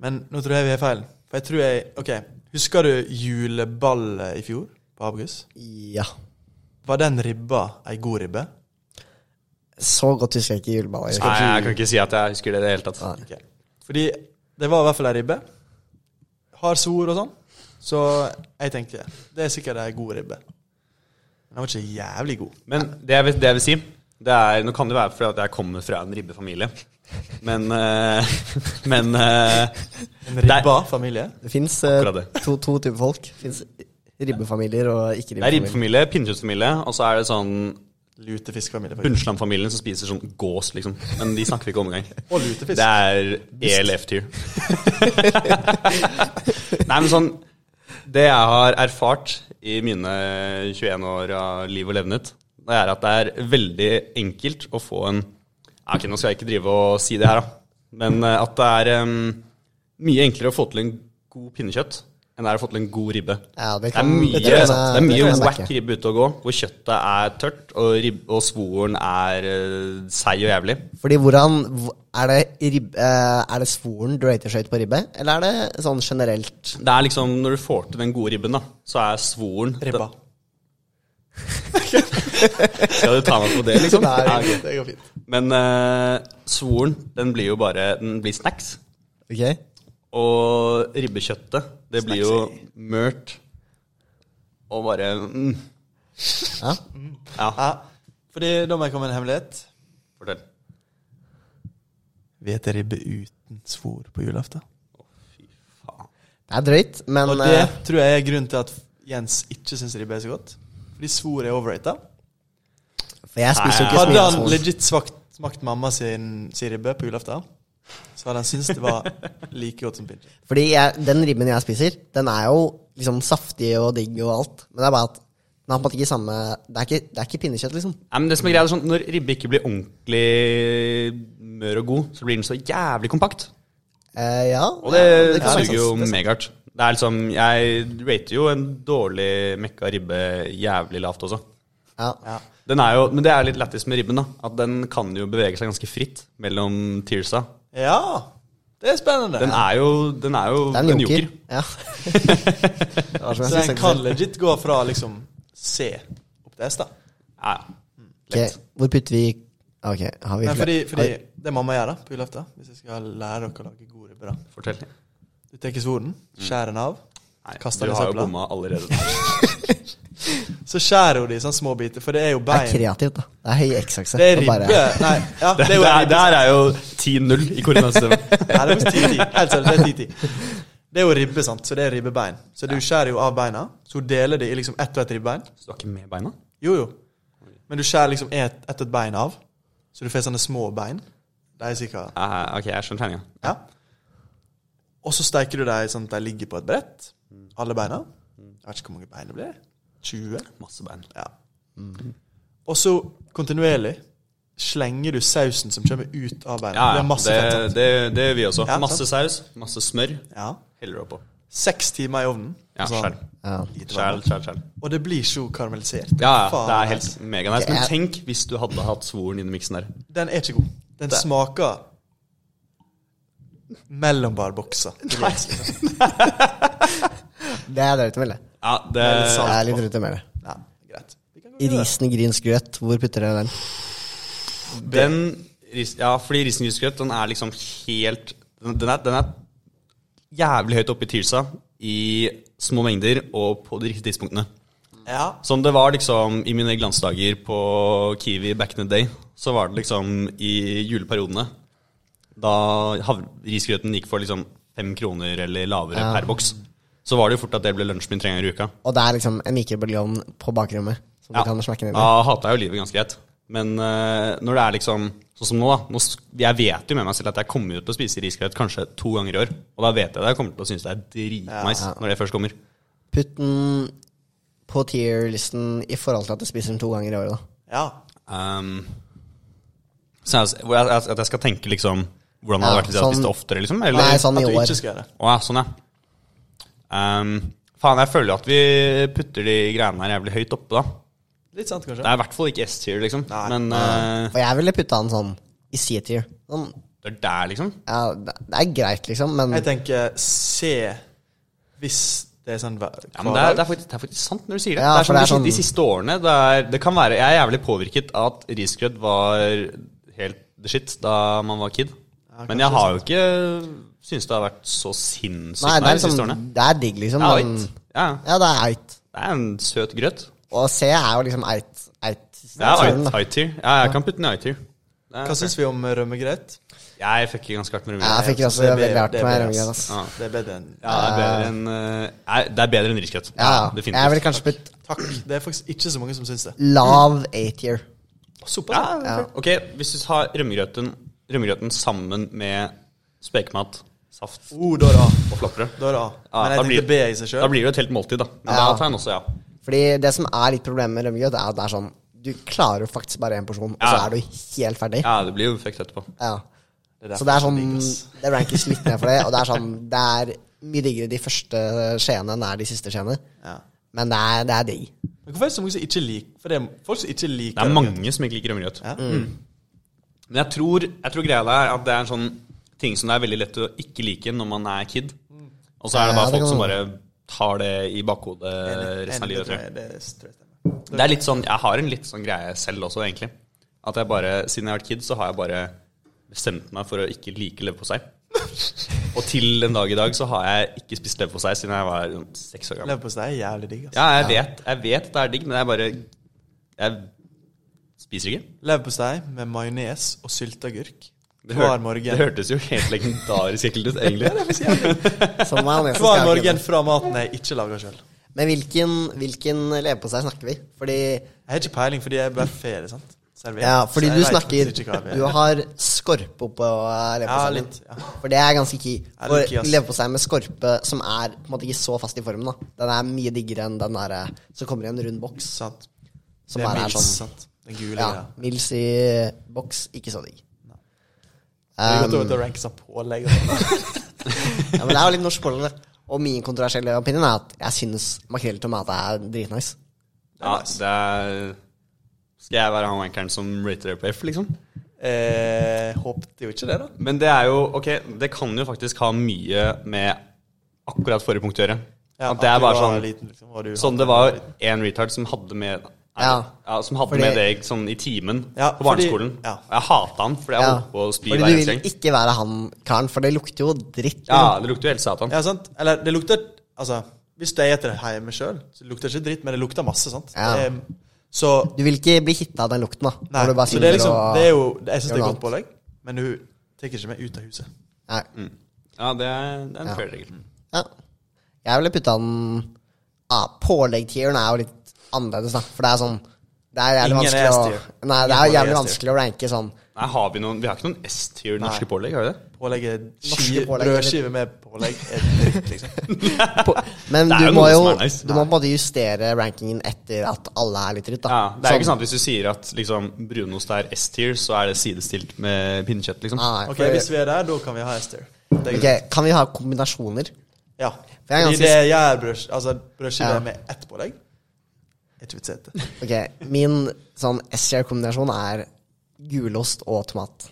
Speaker 1: Men nå tror jeg vi har feil. For jeg tror jeg OK, husker du juleballet i fjor på Abacus?
Speaker 2: Ja.
Speaker 1: Var den ribba ei god ribbe?
Speaker 2: Så godt husker jeg ikke juleballer.
Speaker 4: Nei, jeg kan ikke si at jeg husker det i det hele tatt.
Speaker 2: Nei.
Speaker 1: Ok. Fordi det var i hvert fall ei ribbe. Hard sor og sånn. Så jeg tenkte det er sikkert ei god ribbe. Men den var ikke jævlig god.
Speaker 4: Men det jeg, vil, det jeg vil si det er, Nå kan det være fordi at jeg kommer fra en ribbefamilie, men eh, (laughs) Men eh,
Speaker 1: En ribba familie.
Speaker 2: Det fins
Speaker 4: Akkurat
Speaker 2: to, to typer folk. Det fins ribbefamilier og
Speaker 4: det er
Speaker 2: ikke-ribbefamilier.
Speaker 4: ribbefamilie, pinnekjøttfamilie, og så er det sånn
Speaker 1: Lutefiskfamilie. faktisk.
Speaker 4: Bunnslamfamilien som spiser sånn gås, liksom. Men de snakker vi ikke om engang.
Speaker 1: Og lutefisk.
Speaker 4: Det er E ELF-tier. Nei, men sånn Det jeg har erfart i mine 21 år av liv og levnet, det er at det er veldig enkelt å få en Ja, Ok, nå skal jeg ikke drive og si det her, da. Men eh, at det er em, mye enklere å få til en god pinnekjøtt enn det er å få til en god ribbe.
Speaker 2: Ja, det
Speaker 4: det,
Speaker 2: kan-
Speaker 4: er mye,
Speaker 2: det
Speaker 4: det
Speaker 2: tror jeg er-
Speaker 4: er
Speaker 2: det tror
Speaker 4: mye
Speaker 2: jeg er
Speaker 4: whack
Speaker 2: merke.
Speaker 4: ribbe ute og gå, hvor kjøttet er tørt, og, ribb, og svoren er eh, seig og jævlig.
Speaker 2: Fordi hvordan hv- Er det, ribbe, eh, er det svoren du rater skøyt på ribbe, eller er det sånn generelt
Speaker 4: Det er liksom, Når du får til den gode ribben, da, så er svoren
Speaker 1: Ribba.
Speaker 4: Skal du ta meg på det, liksom?
Speaker 1: Nei,
Speaker 4: Ja, ok.
Speaker 1: det går fint.
Speaker 4: Men eh, svoren, den blir jo bare Den blir snacks.
Speaker 2: Ok?
Speaker 4: Og ribbekjøttet, det blir jo mørt og bare mm.
Speaker 2: Ja.
Speaker 4: Ja,
Speaker 1: Ja. Fordi da må jeg komme med en hemmelighet.
Speaker 4: fortell.
Speaker 1: Vi spiser ribbe uten svor på julaften.
Speaker 2: Det er drøyt, men
Speaker 1: Og det
Speaker 2: eh,
Speaker 1: tror jeg er grunnen til at Jens ikke syns ribbe er så godt. Fordi svor er overrated.
Speaker 2: For jeg spiser jo ikke så
Speaker 1: Hadde
Speaker 2: mye
Speaker 1: han
Speaker 2: svor.
Speaker 1: legit smakt, smakt mamma sin, sin ribbe på julaften, så hadde han syntes det var like godt som pinnekjøtt.
Speaker 2: Fordi jeg, den ribben jeg spiser, den er jo liksom saftig og digg og alt. Men det er bare at den har på en måte ikke samme Det er ikke, det er ikke pinnekjøtt, liksom.
Speaker 4: Nei, men det som er greia, er sånn når ribbe ikke blir ordentlig mør og god, så blir den så jævlig kompakt.
Speaker 2: Eh, ja.
Speaker 4: Og det,
Speaker 2: ja,
Speaker 4: det
Speaker 2: kan være
Speaker 4: suger jo
Speaker 2: sant. Det er sant.
Speaker 4: megahardt. Det er liksom, Jeg rater jo en dårlig mekka ribbe jævlig lavt også.
Speaker 2: Ja.
Speaker 4: Den er jo, men det er litt lættis med ribben, da. At den kan jo bevege seg ganske fritt mellom tearsa.
Speaker 1: Ja! Det er spennende.
Speaker 4: Den er jo, den er jo
Speaker 2: Det er en joker. Ja. Det var
Speaker 1: så
Speaker 2: som altså, jeg skulle
Speaker 1: en
Speaker 2: sagt
Speaker 1: kan
Speaker 2: selv.
Speaker 1: legit gå fra liksom C opp til S, da.
Speaker 4: Ja,
Speaker 2: Ok, Hvor putter vi Ok, har vi
Speaker 1: Men
Speaker 2: flere?
Speaker 1: fordi, fordi
Speaker 2: Har-
Speaker 1: det mamma gjør da på julaften, hvis jeg skal lære dere å lage god ribbe, da
Speaker 4: fortell.
Speaker 1: Du tar svoren, skjærer den av,
Speaker 4: Nei,
Speaker 1: kaster
Speaker 4: du
Speaker 1: den i
Speaker 4: har jo
Speaker 1: søpla.
Speaker 4: bomma
Speaker 1: (laughs)
Speaker 4: allerede.
Speaker 1: Så skjærer hun det i sånne små biter, for det er jo
Speaker 2: Det er
Speaker 1: bein.
Speaker 2: kreativt, da. Det er høy X-akse.
Speaker 1: Det er
Speaker 2: Og bare-
Speaker 1: ribbe. Nei, ja, det
Speaker 4: Det
Speaker 1: er jo
Speaker 4: der,
Speaker 1: ribbe.
Speaker 4: der er jo 10-0 i
Speaker 1: (laughs)
Speaker 4: koordinatsystemet.
Speaker 1: Nei, det er faktisk
Speaker 4: (laughs)
Speaker 1: 10-10. Helt seriøst, det er 10-10. Det er jo ribbe, sant, så det er ribbebein. Så du skjærer jo av beina, så hun deler det i liksom ett og ett ribbein.
Speaker 4: Så du har ikke med beina?
Speaker 1: Jo, jo. Men du skjærer liksom ett et, og et bein av, så du får sånne små bein. De er sikkert
Speaker 4: Ja, ja, ok, jeg skjønner tegninga.
Speaker 1: Ja. Og så steiker du dem sånn at de ligger på et brett, alle beina. Jeg vet ikke hvor mange bein det blir. 20?
Speaker 4: Masse bein.
Speaker 1: Ja. Og så kontinuerlig slenger du sausen som kommer ut av beina.
Speaker 4: Ja,
Speaker 1: det
Speaker 4: ja,
Speaker 1: er masse
Speaker 4: det,
Speaker 1: fett, sant?
Speaker 4: det, det gjør vi også.
Speaker 1: Ja,
Speaker 4: Masse saus, masse smør.
Speaker 1: Ja.
Speaker 4: Heller oppå.
Speaker 1: Seks timer i ovnen.
Speaker 4: Ja,
Speaker 1: Altså,
Speaker 4: skjell.
Speaker 2: Ja.
Speaker 1: lite vann.
Speaker 4: Skjell, skjell, skjell.
Speaker 1: Og det blir så karamellisert.
Speaker 4: Ja, ja,
Speaker 1: Faen,
Speaker 4: det er
Speaker 1: ass.
Speaker 4: helt meganice. Men
Speaker 2: Jeg-
Speaker 4: tenk hvis du hadde hatt svoren inni miksen der.
Speaker 1: Den er ikke god. Den smaker mellombarbokser.
Speaker 4: Eh.
Speaker 2: Det er drøyt å melde.
Speaker 4: Ja, det
Speaker 1: Veldig sant.
Speaker 2: Det er litt drøyt å melde.
Speaker 1: Ja.
Speaker 2: Risen grynsgrøt, hvor putter dere den?
Speaker 4: Den ris, Ja, fordi risengrynsgrøt, den er liksom helt den, den, er, den er jævlig høyt oppe i Tirsa i små mengder og på de riktige tidspunktene.
Speaker 1: Ja.
Speaker 4: Som det var liksom i mine glansdager på Kiwi back in the day, så var det liksom i juleperiodene. Da hav- risgrøten gikk for liksom fem kroner eller lavere per boks, så var det jo fort at det ble lunsjen min tre ganger i uka.
Speaker 2: Og det er liksom en mikrobølgeovn på bakrommet. Som du kan smekke ned i.
Speaker 4: Da hata jeg jo livet ganske greit. Men eh, når det er liksom sånn som nå, da. Nå, s- jeg vet jo med meg selv at jeg kommer jo til å spise risgrøt kanskje to ganger i år. Og da vet jeg det. Jeg kommer til å synes det er dritnice når det først kommer.
Speaker 2: Putt den på tier-listen i forhold til at du spiser den to ganger i året, da.
Speaker 1: ja.
Speaker 4: Um, så jeg, hvor jeg, jeg, at jeg skal tenke liksom hvordan det
Speaker 2: Ja,
Speaker 4: hadde vært hvis jeg hadde
Speaker 2: sånn-
Speaker 4: spist det oftere, liksom? Eller?
Speaker 2: Nei, sånn
Speaker 1: At
Speaker 2: i
Speaker 1: du
Speaker 2: år.
Speaker 1: ikke skal gjøre det.
Speaker 4: Å ja, sånn ja. Um, faen, jeg føler at vi putter de greiene her jævlig høyt oppe, da.
Speaker 1: Litt sant,
Speaker 4: Det
Speaker 1: kanskje.
Speaker 4: er i hvert fall ikke S-tier, liksom.
Speaker 1: Nei.
Speaker 4: Men eh,
Speaker 2: Og jeg ville putta den sånn i C-tier. Sånn,
Speaker 4: det er der, liksom.
Speaker 2: ja, det det er greit, liksom, men
Speaker 1: Jeg tenker se hvis det er sånn hver
Speaker 4: Ja, men det er, det, er faktisk, det er faktisk sant når du sier det.
Speaker 2: Ja,
Speaker 4: det er
Speaker 2: for
Speaker 4: sånn,
Speaker 2: det er
Speaker 4: de- De
Speaker 2: sånn-
Speaker 4: siste årene det, er, det kan være, Jeg er jævlig påvirket av at risgrøt var helt the shit da man var kid. men jeg har jo ikke syntes det har vært så sinnssykt
Speaker 2: Nei, det
Speaker 4: nei,
Speaker 2: er,
Speaker 4: de siste
Speaker 2: liksom,
Speaker 4: årene.
Speaker 2: det er digg, liksom.
Speaker 4: Det er
Speaker 2: men-
Speaker 4: eit. Ja,
Speaker 2: Ja, det er eit.
Speaker 4: det er en søt grøt.
Speaker 2: Og C er jo liksom eit. eit
Speaker 4: Det er
Speaker 2: sånn, da.
Speaker 4: eit- eit-tier. Ja, jeg kan putte den i eit-tier. Det er-
Speaker 1: Hva syns vi om rømmegrøt?
Speaker 4: Jeg fucker ganske hardt
Speaker 2: Ja,
Speaker 4: med
Speaker 2: jeg
Speaker 4: rømmegrøt.
Speaker 2: fikk også
Speaker 1: Det er
Speaker 2: veldig
Speaker 1: bedre-
Speaker 2: hardt
Speaker 1: det er
Speaker 2: med
Speaker 1: bedre,
Speaker 2: rømmegrøt.
Speaker 1: ass.
Speaker 2: ass.
Speaker 4: Ja.
Speaker 1: Det er bedre enn
Speaker 4: Ja, det er bedre enn eh, nei, Det er bedre enn risgrøt.
Speaker 2: Ja,
Speaker 4: definitivt.
Speaker 2: jeg ville kanskje putt
Speaker 1: Takk. Det er faktisk ikke så mange som syns det.
Speaker 2: lav A-tier.
Speaker 1: Såpass?
Speaker 4: Ja, ok, hvis du tar rømmegrøten, rømmegrøten sammen med spekemat, saft
Speaker 1: Oh, da er det A.
Speaker 4: og flatbrød
Speaker 1: Da er det A.
Speaker 4: Ja,
Speaker 1: Men
Speaker 4: da
Speaker 1: jeg tenkte B i seg
Speaker 4: Da
Speaker 1: sjøl.
Speaker 4: blir det jo et helt måltid, da. Men
Speaker 2: Ja.
Speaker 4: da tar jeg den også, ja.
Speaker 2: Fordi det som er litt problemet med rømmegrøt, er at det er sånn Du klarer jo faktisk bare én porsjon, og så
Speaker 4: Ja.
Speaker 2: er du helt ferdig.
Speaker 4: Ja, det blir jo fucked etterpå.
Speaker 2: Ja.
Speaker 1: er
Speaker 2: Så det er
Speaker 1: derfor
Speaker 2: sånn
Speaker 1: jeg liker, ass.
Speaker 2: Det rankes litt ned for det, og
Speaker 1: (laughs)
Speaker 2: det er sånn Det er mye diggere de første skjeene enn det er de siste skjeene.
Speaker 1: Ja.
Speaker 2: Men det er, det er digg.
Speaker 1: Men hvorfor er det så mange som ikke liker For det er folk som ikke liker
Speaker 4: Det er
Speaker 1: rømmegrøt.
Speaker 4: mange som ikke liker rømmegrøt. Mm.
Speaker 1: Ja.
Speaker 4: Men jeg tror, jeg tror greia der er at det er en sånn ting som det er veldig lett å ikke like når man er kid. Og så er det
Speaker 2: Ja,
Speaker 4: bare
Speaker 2: det
Speaker 4: folk
Speaker 2: kan
Speaker 4: som
Speaker 2: være.
Speaker 4: bare tar det i bakhodet
Speaker 1: Enig,
Speaker 4: Eh, resten
Speaker 1: enig,
Speaker 4: av livet, tror
Speaker 1: Det, tror jeg-
Speaker 4: jeg.
Speaker 1: det tror jeg stemmer.
Speaker 4: Det er litt sånn, Jeg har en litt sånn greie selv også, egentlig. At jeg bare, Siden jeg har vært kid, så har jeg bare bestemt meg for å ikke like leverpostei. Og til en dag i dag så har jeg ikke spist leverpostei siden jeg var sånn seks år gammel.
Speaker 1: Leverpostei er jævlig digg. Altså.
Speaker 4: Ja, jeg vet jeg vet det er digg, men jeg bare Jeg spiser ikke.
Speaker 1: Leverpostei med majones og sylteagurk
Speaker 4: Det,
Speaker 1: hver
Speaker 4: hør-
Speaker 1: morgen.
Speaker 4: det hørtes jo helt legendarisk
Speaker 1: (laughs)
Speaker 4: ekkelt ut, egentlig.
Speaker 2: Så majonesen skal
Speaker 1: Hver
Speaker 2: jeg ikke
Speaker 1: morgen fra maten jeg ikke lager sjøl.
Speaker 2: kunne. Men hvilken, hvilken leverpostei snakker vi? Fordi
Speaker 1: Jeg har ikke peiling, fordi jeg er buffé. sant? Servert.
Speaker 2: Ja, fordi
Speaker 1: Så jeg
Speaker 2: du
Speaker 1: vet
Speaker 2: snakker
Speaker 1: faktisk ikke hva vi er.
Speaker 2: Du har skorpe oppå
Speaker 1: Ja,
Speaker 2: leverposteien.
Speaker 1: litt, ja.
Speaker 2: For det er ganske key.
Speaker 1: Ja, det er key,
Speaker 2: For
Speaker 1: ass.
Speaker 2: leverpostei med skorpe, som er på en måte ikke så fast i formen, da. Den er mye diggere enn den derre som kommer i en rund boks.
Speaker 1: Sant.
Speaker 2: Som
Speaker 1: det er
Speaker 2: bare er
Speaker 1: mils,
Speaker 2: sånn
Speaker 1: sant? Den gule
Speaker 2: ja,
Speaker 1: greia.
Speaker 2: Mils i boks, ikke så digg.
Speaker 1: Det er godt
Speaker 2: Um,
Speaker 1: over til å ranke seg pålegg. og
Speaker 2: (laughs)
Speaker 1: sånn.
Speaker 2: ja, men det er jo litt norsk pålegg, det. Og min kontroversielle opinion er at jeg syns makrell i tomat er dritnice.
Speaker 4: Ja, det er Skal jeg være han wankeren som rater det på F, liksom?
Speaker 1: Eh, håpte jo ikke det, da.
Speaker 4: Men det er jo Ok, det kan jo faktisk ha mye med akkurat forrige punkt å gjøre.
Speaker 1: Ja,
Speaker 4: at det
Speaker 1: at
Speaker 4: er
Speaker 1: du
Speaker 4: bare
Speaker 1: var
Speaker 4: sånn
Speaker 1: liten, liksom, og du-
Speaker 4: Sånn det var en retard som hadde med
Speaker 2: Ja.
Speaker 4: som hadde
Speaker 2: Fordi-
Speaker 4: med det sånn i timen
Speaker 1: Ja,
Speaker 4: på
Speaker 1: fordi-
Speaker 4: barneskolen.
Speaker 1: ja.
Speaker 4: Og jeg hata han, fordi jeg
Speaker 2: Ja.
Speaker 4: holdt på å spy
Speaker 2: Fordi
Speaker 4: hver
Speaker 2: du
Speaker 4: eneste
Speaker 2: vil
Speaker 4: gang.
Speaker 2: ikke være han karen, for det lukter jo dritt.
Speaker 4: Ja,
Speaker 2: liksom.
Speaker 4: det lukter jo helt satan.
Speaker 1: Ja, sant? Eller det lukter Altså, hvis du spiser det hjemme sjøl, så lukter det ikke dritt, men det lukter masse, sant?
Speaker 2: Ja.
Speaker 1: Det er- så
Speaker 2: Du vil ikke bli hitta av den lukten, da.
Speaker 1: Nei,
Speaker 2: Når du bare
Speaker 1: så det er
Speaker 2: sitter
Speaker 1: liksom
Speaker 2: og-
Speaker 1: det er jo, Jeg syns det
Speaker 2: gjør
Speaker 1: er
Speaker 2: noe
Speaker 1: godt pålegg, men du tar ikke meg ut av huset.
Speaker 2: Nei.
Speaker 4: Ja, det er, det er en fair regel.
Speaker 2: Ja. Jeg ville putta den ja, Pålegg-tieren er jo litt annerledes, da. For det er sånn Det er jævlig
Speaker 1: Ingen er
Speaker 2: vanskelig å
Speaker 1: S-tier.
Speaker 2: Nei, det er
Speaker 1: Ingen
Speaker 2: jævlig
Speaker 1: pålegg er
Speaker 2: vanskelig å ranke sånn.
Speaker 4: Nei, har vi, noen, vi har ikke noen S-tier norske pålegg, har vi det?
Speaker 1: Pålegget
Speaker 2: Norske pålegg, eller?
Speaker 1: Brødskive med pålegg er dritt,
Speaker 2: (laughs)
Speaker 1: liksom.
Speaker 2: Men
Speaker 4: Det er
Speaker 2: du
Speaker 4: jo
Speaker 2: må
Speaker 4: noe
Speaker 2: jo
Speaker 4: som er nice.
Speaker 2: Du må på en måte justere rankingen etter at alle er litt dritt, da.
Speaker 4: Ja, det er jo
Speaker 2: Sånn.
Speaker 4: ikke sant at hvis du sier at liksom, brunost er S-tier, så er det sidestilt med pinnekjøtt, liksom.
Speaker 2: Nei,
Speaker 1: Ok,
Speaker 2: for-
Speaker 1: Hvis vi er der, da kan vi ha Esther. Det er greit.
Speaker 2: Ah, ok, Kan vi ha kombinasjoner?
Speaker 1: Ja.
Speaker 2: jeg
Speaker 1: Fordi
Speaker 2: er ganske-
Speaker 1: det jeg gjør brød, altså, brødskive
Speaker 2: Ja.
Speaker 1: med ett pålegg, er ikke vits i dette.
Speaker 2: Ok, Min sånn S-tier-kombinasjon er gulost og tomat.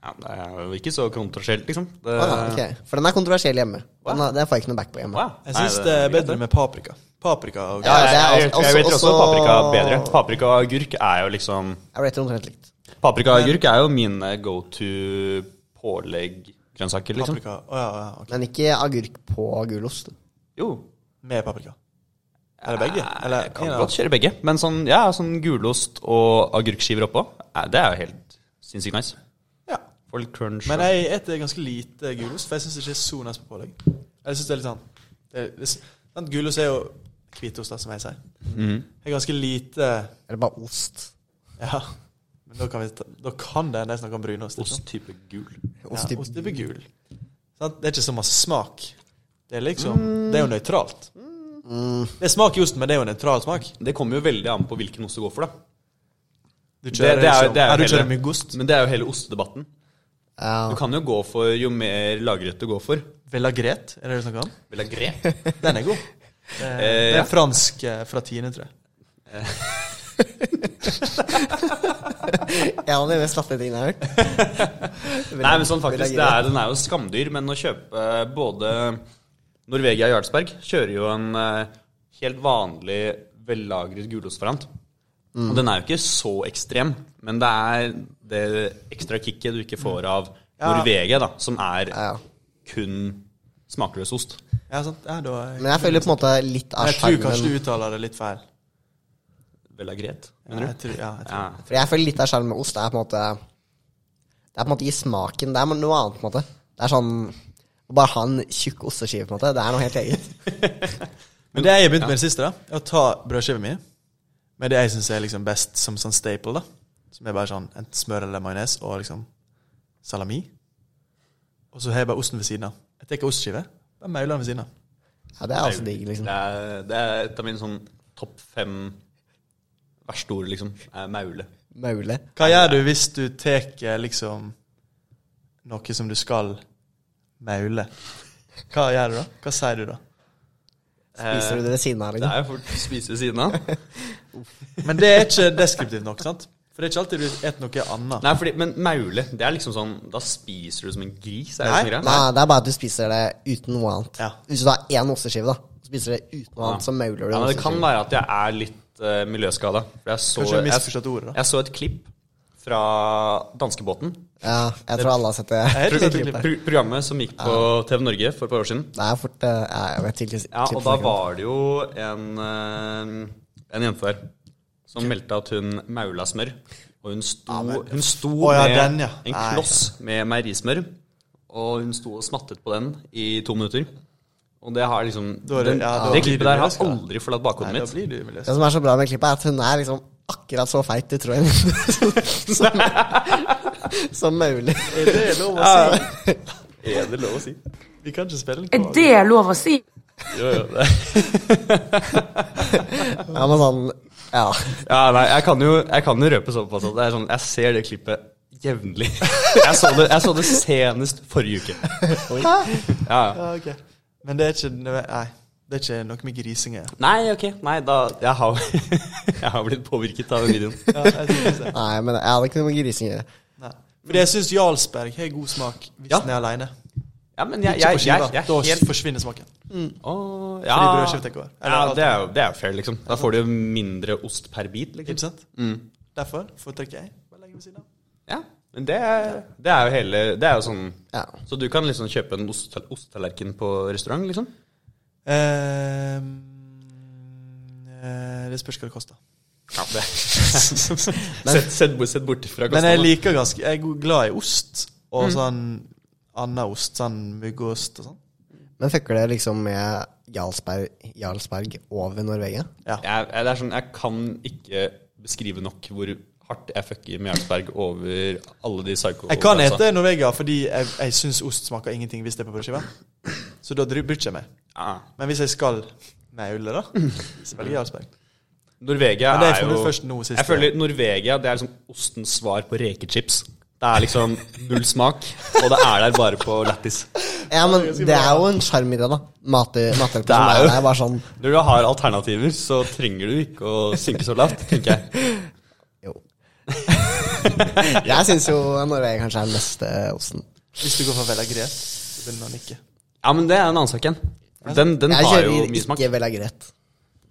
Speaker 4: Ja, det er jo ikke så kontroversielt, liksom. Det,
Speaker 2: Ah, ok. For den er kontroversiell hjemme. Den, er, den får jeg ikke noe back på hjemme.
Speaker 4: Wow.
Speaker 1: Jeg
Speaker 4: Nei,
Speaker 1: syns
Speaker 4: det-
Speaker 1: det er bedre med paprika. Paprika og
Speaker 2: Ja, det er
Speaker 4: jeg, jeg,
Speaker 2: også-
Speaker 4: jeg vet også
Speaker 2: også-
Speaker 4: paprika er bedre. Paprika og agurk er jo liksom
Speaker 2: Jeg rater omtrent likt.
Speaker 4: Paprika og agurk er jo eh, mine go to pålegg-grønnsaker, liksom.
Speaker 1: paprika. Å, ja, ja, ok.
Speaker 2: Men ikke agurk på gulost.
Speaker 4: Jo.
Speaker 1: Med paprika. Eller begge? Eller,
Speaker 4: Jeg kan
Speaker 1: en av-
Speaker 4: godt kjøre begge. Men sånn, ja, sånn gulost og agurkskiver oppå, eh, det er jo helt sinnssykt nice.
Speaker 1: Ja.
Speaker 4: Får litt crunch.
Speaker 1: Men jeg eter ganske lite gulost, for jeg syns det ikke er så nice på pålegg. Jeg synes det er litt sånn det er, det, er sant, Gulost er jo hvitost, da, som jeg sier.
Speaker 4: Mhm.
Speaker 1: Det er ganske lite
Speaker 2: Eller bare ost.
Speaker 1: Ja. Men da kan, vi ta, da kan det hende jeg snakker om brunost. ikke sant?
Speaker 4: Ost type gul.
Speaker 2: Ost
Speaker 1: ja,
Speaker 2: i-
Speaker 1: ost type gul. Sant? Det er ikke så masse smak. Det er liksom
Speaker 4: Mm.
Speaker 1: Det er jo nøytralt. Det er smak i osten, men det er jo en nøytral smak.
Speaker 4: Det kommer jo veldig an på hvilken ost du går for, da.
Speaker 1: Du
Speaker 4: Det, det er, jo-
Speaker 1: liksom-
Speaker 4: det er
Speaker 1: Ja, du
Speaker 4: jo
Speaker 1: kjører
Speaker 4: hele,
Speaker 1: mye ost.
Speaker 4: men det er jo hele ostedebatten.
Speaker 2: Ja.
Speaker 4: Du kan jo gå for jo mer lagret du går for.
Speaker 1: Velagret, er det det du snakker om?
Speaker 4: Vil jeg gre?
Speaker 1: Den er god. Det er, det
Speaker 4: ja.
Speaker 1: er fransk eh, fra tiende, tror jeg.
Speaker 2: Ja, det er mest latterlige tingene jeg
Speaker 4: (laughs)
Speaker 2: har hørt.
Speaker 4: (laughs) Nei, men sånn faktisk, det er, Den er jo skamdyr, men å kjøpe eh, både Norvegia og Jarlsberg kjører jo en eh, helt vanlig vellagret gulostvariant.
Speaker 2: Mm.
Speaker 4: Og den er jo ikke så ekstrem, men det er det ekstra kicket du ikke får av Norvegia, da, som er
Speaker 2: Mm. Ja, ja.
Speaker 4: kun smakløs ost.
Speaker 1: Ja, sant? Ja, da er-
Speaker 2: Men jeg føler på en måte litt av
Speaker 1: jeg tror kanskje
Speaker 2: sjarmen
Speaker 1: du uttaler det litt feil.
Speaker 4: Vellagret,
Speaker 1: Ja,
Speaker 4: mener
Speaker 1: jeg
Speaker 4: du?
Speaker 1: tror, ja, jeg tror.
Speaker 4: Ja.
Speaker 2: For jeg føler litt av sjarmen med ost er på en måte Det er på en måte i smaken. Det er noe annet, på en måte. Det er sånn å bare ha en tjukk osteskive, på en måte. Det er noe helt eget.
Speaker 1: Men det jeg har begynt med i det siste, da, er å ta brødskiva mi med det jeg syns er liksom best som sånn staple, da. Som er bare sånn enten smør eller majones og liksom salami. Og så har jeg bare osten ved siden av. Jeg tar ostskive, bare mauler den ved siden av.
Speaker 2: Ja, det er altså digg, liksom.
Speaker 4: Det er, det er et av mine sånn topp fem verste ord, liksom. Er maule.
Speaker 2: Maule.
Speaker 1: Hva gjør du hvis du tar eh, liksom noe som du skal maule? Hva gjør du da? Hva sier du da?
Speaker 2: Spiser du det ved siden av,
Speaker 4: Eh, Det
Speaker 2: liksom?
Speaker 4: er jo fort å spise ved siden av.
Speaker 1: Men det er ikke deskriptivt nok, sant? For det er ikke alltid du spiser noe annet.
Speaker 4: (laughs) Nei, fordi, men maule, det er liksom sånn Da spiser du som en gris, er det
Speaker 1: Nei,
Speaker 4: sånn greia?
Speaker 2: Nei, det er bare at du spiser det uten noe annet.
Speaker 1: Ja.
Speaker 2: Hvis du har én osteskive, da, spiser du det uten noe annet, så mauler du
Speaker 4: Ja,
Speaker 2: en
Speaker 4: men det kan
Speaker 2: osteskive.
Speaker 4: være at jeg er litt uh, miljøskada. Jeg så,
Speaker 1: Kanskje jeg
Speaker 4: jeg,
Speaker 1: misforstått ordet, da.
Speaker 4: jeg så et klipp fra danskebåten.
Speaker 2: Ja, jeg tror alle har sett det.
Speaker 1: Jeg har
Speaker 2: (laughs)
Speaker 1: ikke sett det klippet.
Speaker 4: Pro programmet som gikk på TV Norge for et par år siden.
Speaker 2: Det er fort eh, ja, jeg vet ikke,
Speaker 4: Ja, og da var det jo en, eh, en jente der som meldte at hun maula smør. Og hun sto, hun sto
Speaker 1: Å ja,
Speaker 4: med
Speaker 1: den, ja.
Speaker 4: en
Speaker 1: Nei.
Speaker 4: kloss med meierismør, og hun sto og smattet på den i to minutter. Og det har liksom
Speaker 1: Da er det-
Speaker 4: den,
Speaker 1: ja, da
Speaker 4: Det
Speaker 1: blir
Speaker 4: klippet
Speaker 1: du
Speaker 4: der har
Speaker 1: miljøskada.
Speaker 4: aldri forlatt bakhodet
Speaker 1: Nei, da
Speaker 4: mitt.
Speaker 1: blir du miljøskada.
Speaker 2: Det som er så bra med klippet, er at hun er liksom akkurat så feit du tror henne. (laughs) som, som mulig.
Speaker 1: Er det lov å si?
Speaker 4: Er det lov å si?
Speaker 1: Vi kan ikke spille den
Speaker 3: Er det lov å si?
Speaker 4: Jo, jo, det.
Speaker 2: Ja, men sånn Ja.
Speaker 4: (laughs) Ja, nei, jeg kan jo, jeg kan jo røpe såpass at det er sånn, jeg ser det klippet jevnlig. (laughs) Jeg så det, jeg så det senest forrige uke. Ja, ja.
Speaker 1: Ja, ok. Men det er ikke nødve- Nei, det er ikke noe med grising her.
Speaker 4: Nei, ok. Nei, da Jeg har, (laughs) jeg har blitt påvirket av den videoen.
Speaker 1: Ja, jeg synes det.
Speaker 2: Nei, men jeg hadde ikke noe med grising å gjøre.
Speaker 1: Nei. Fordi jeg syns Jarlsberg har god smak hvis
Speaker 4: Ja.
Speaker 1: den er aleine.
Speaker 4: Ja, men jeg,
Speaker 1: Ikke på
Speaker 4: jeg,
Speaker 1: skiva.
Speaker 4: jeg, jeg,
Speaker 1: da
Speaker 4: er helt
Speaker 1: forsvinner smaken.
Speaker 4: Åh,
Speaker 1: Fordi
Speaker 4: ja.
Speaker 1: brødskiva tenker over. Eller
Speaker 4: ja
Speaker 1: alt.
Speaker 4: det, er jo, det er jo fair, liksom. Da får du jo mindre ost per bit. liksom.
Speaker 1: Ikke sant? Derfor foretrekker jeg bare legge ved siden av.
Speaker 4: Ja, Men det er, det er jo hele Det er jo sånn
Speaker 2: Ja.
Speaker 4: Så du kan liksom kjøpe en ost- osttallerken på restaurant, liksom?
Speaker 1: Ehm, eh, det spørs hva det koster.
Speaker 4: Ja, det Sett, sett, bort- sett bort fra
Speaker 1: Men jeg
Speaker 4: kostnadene.
Speaker 1: liker ganske Jeg er go- glad i ost og sånn annen ost, sånn myggost og sånn.
Speaker 2: Men fucker det liksom med Jarlsberg, Jarlsberg over Norvegia?
Speaker 4: Jeg, jeg, det er sånn, jeg kan ikke beskrive nok hvor hardt jeg fucker med Jarlsberg over alle de psycho...
Speaker 1: Jeg kan
Speaker 2: altså-
Speaker 1: ete Norvegia fordi jeg, jeg syns ost smaker ingenting hvis det er på brødskiva. Så da bryr bryr ikke jeg meg.
Speaker 4: Ja.
Speaker 1: Men hvis jeg skal maule, da, så velger jeg Jarlsberg.
Speaker 4: Norvegia
Speaker 1: Men det har jeg
Speaker 4: er
Speaker 1: funnet
Speaker 4: jo
Speaker 1: først nå sist,
Speaker 4: Jeg føler Norvegia det er liksom ostens svar på rekechips. Det er liksom null smak, og det er der bare på lættis.
Speaker 2: Ja, men det er jo en sjarm i det, da. Mat- Matretter som
Speaker 4: er jo-
Speaker 2: er der, bare sånn
Speaker 4: Når du har alternativer, så trenger du ikke å synke så lavt, tenker jeg.
Speaker 2: Jo. (laughs) Jeg syns jo Norvegia kanskje er den beste osten.
Speaker 1: Hvis du går for velagret, så begynner han å nikke.
Speaker 4: Ja, men det er en annen sak igjen. Den, den
Speaker 2: Jeg
Speaker 4: har jo
Speaker 2: kjører
Speaker 4: mye smak.
Speaker 2: ikke velagrett.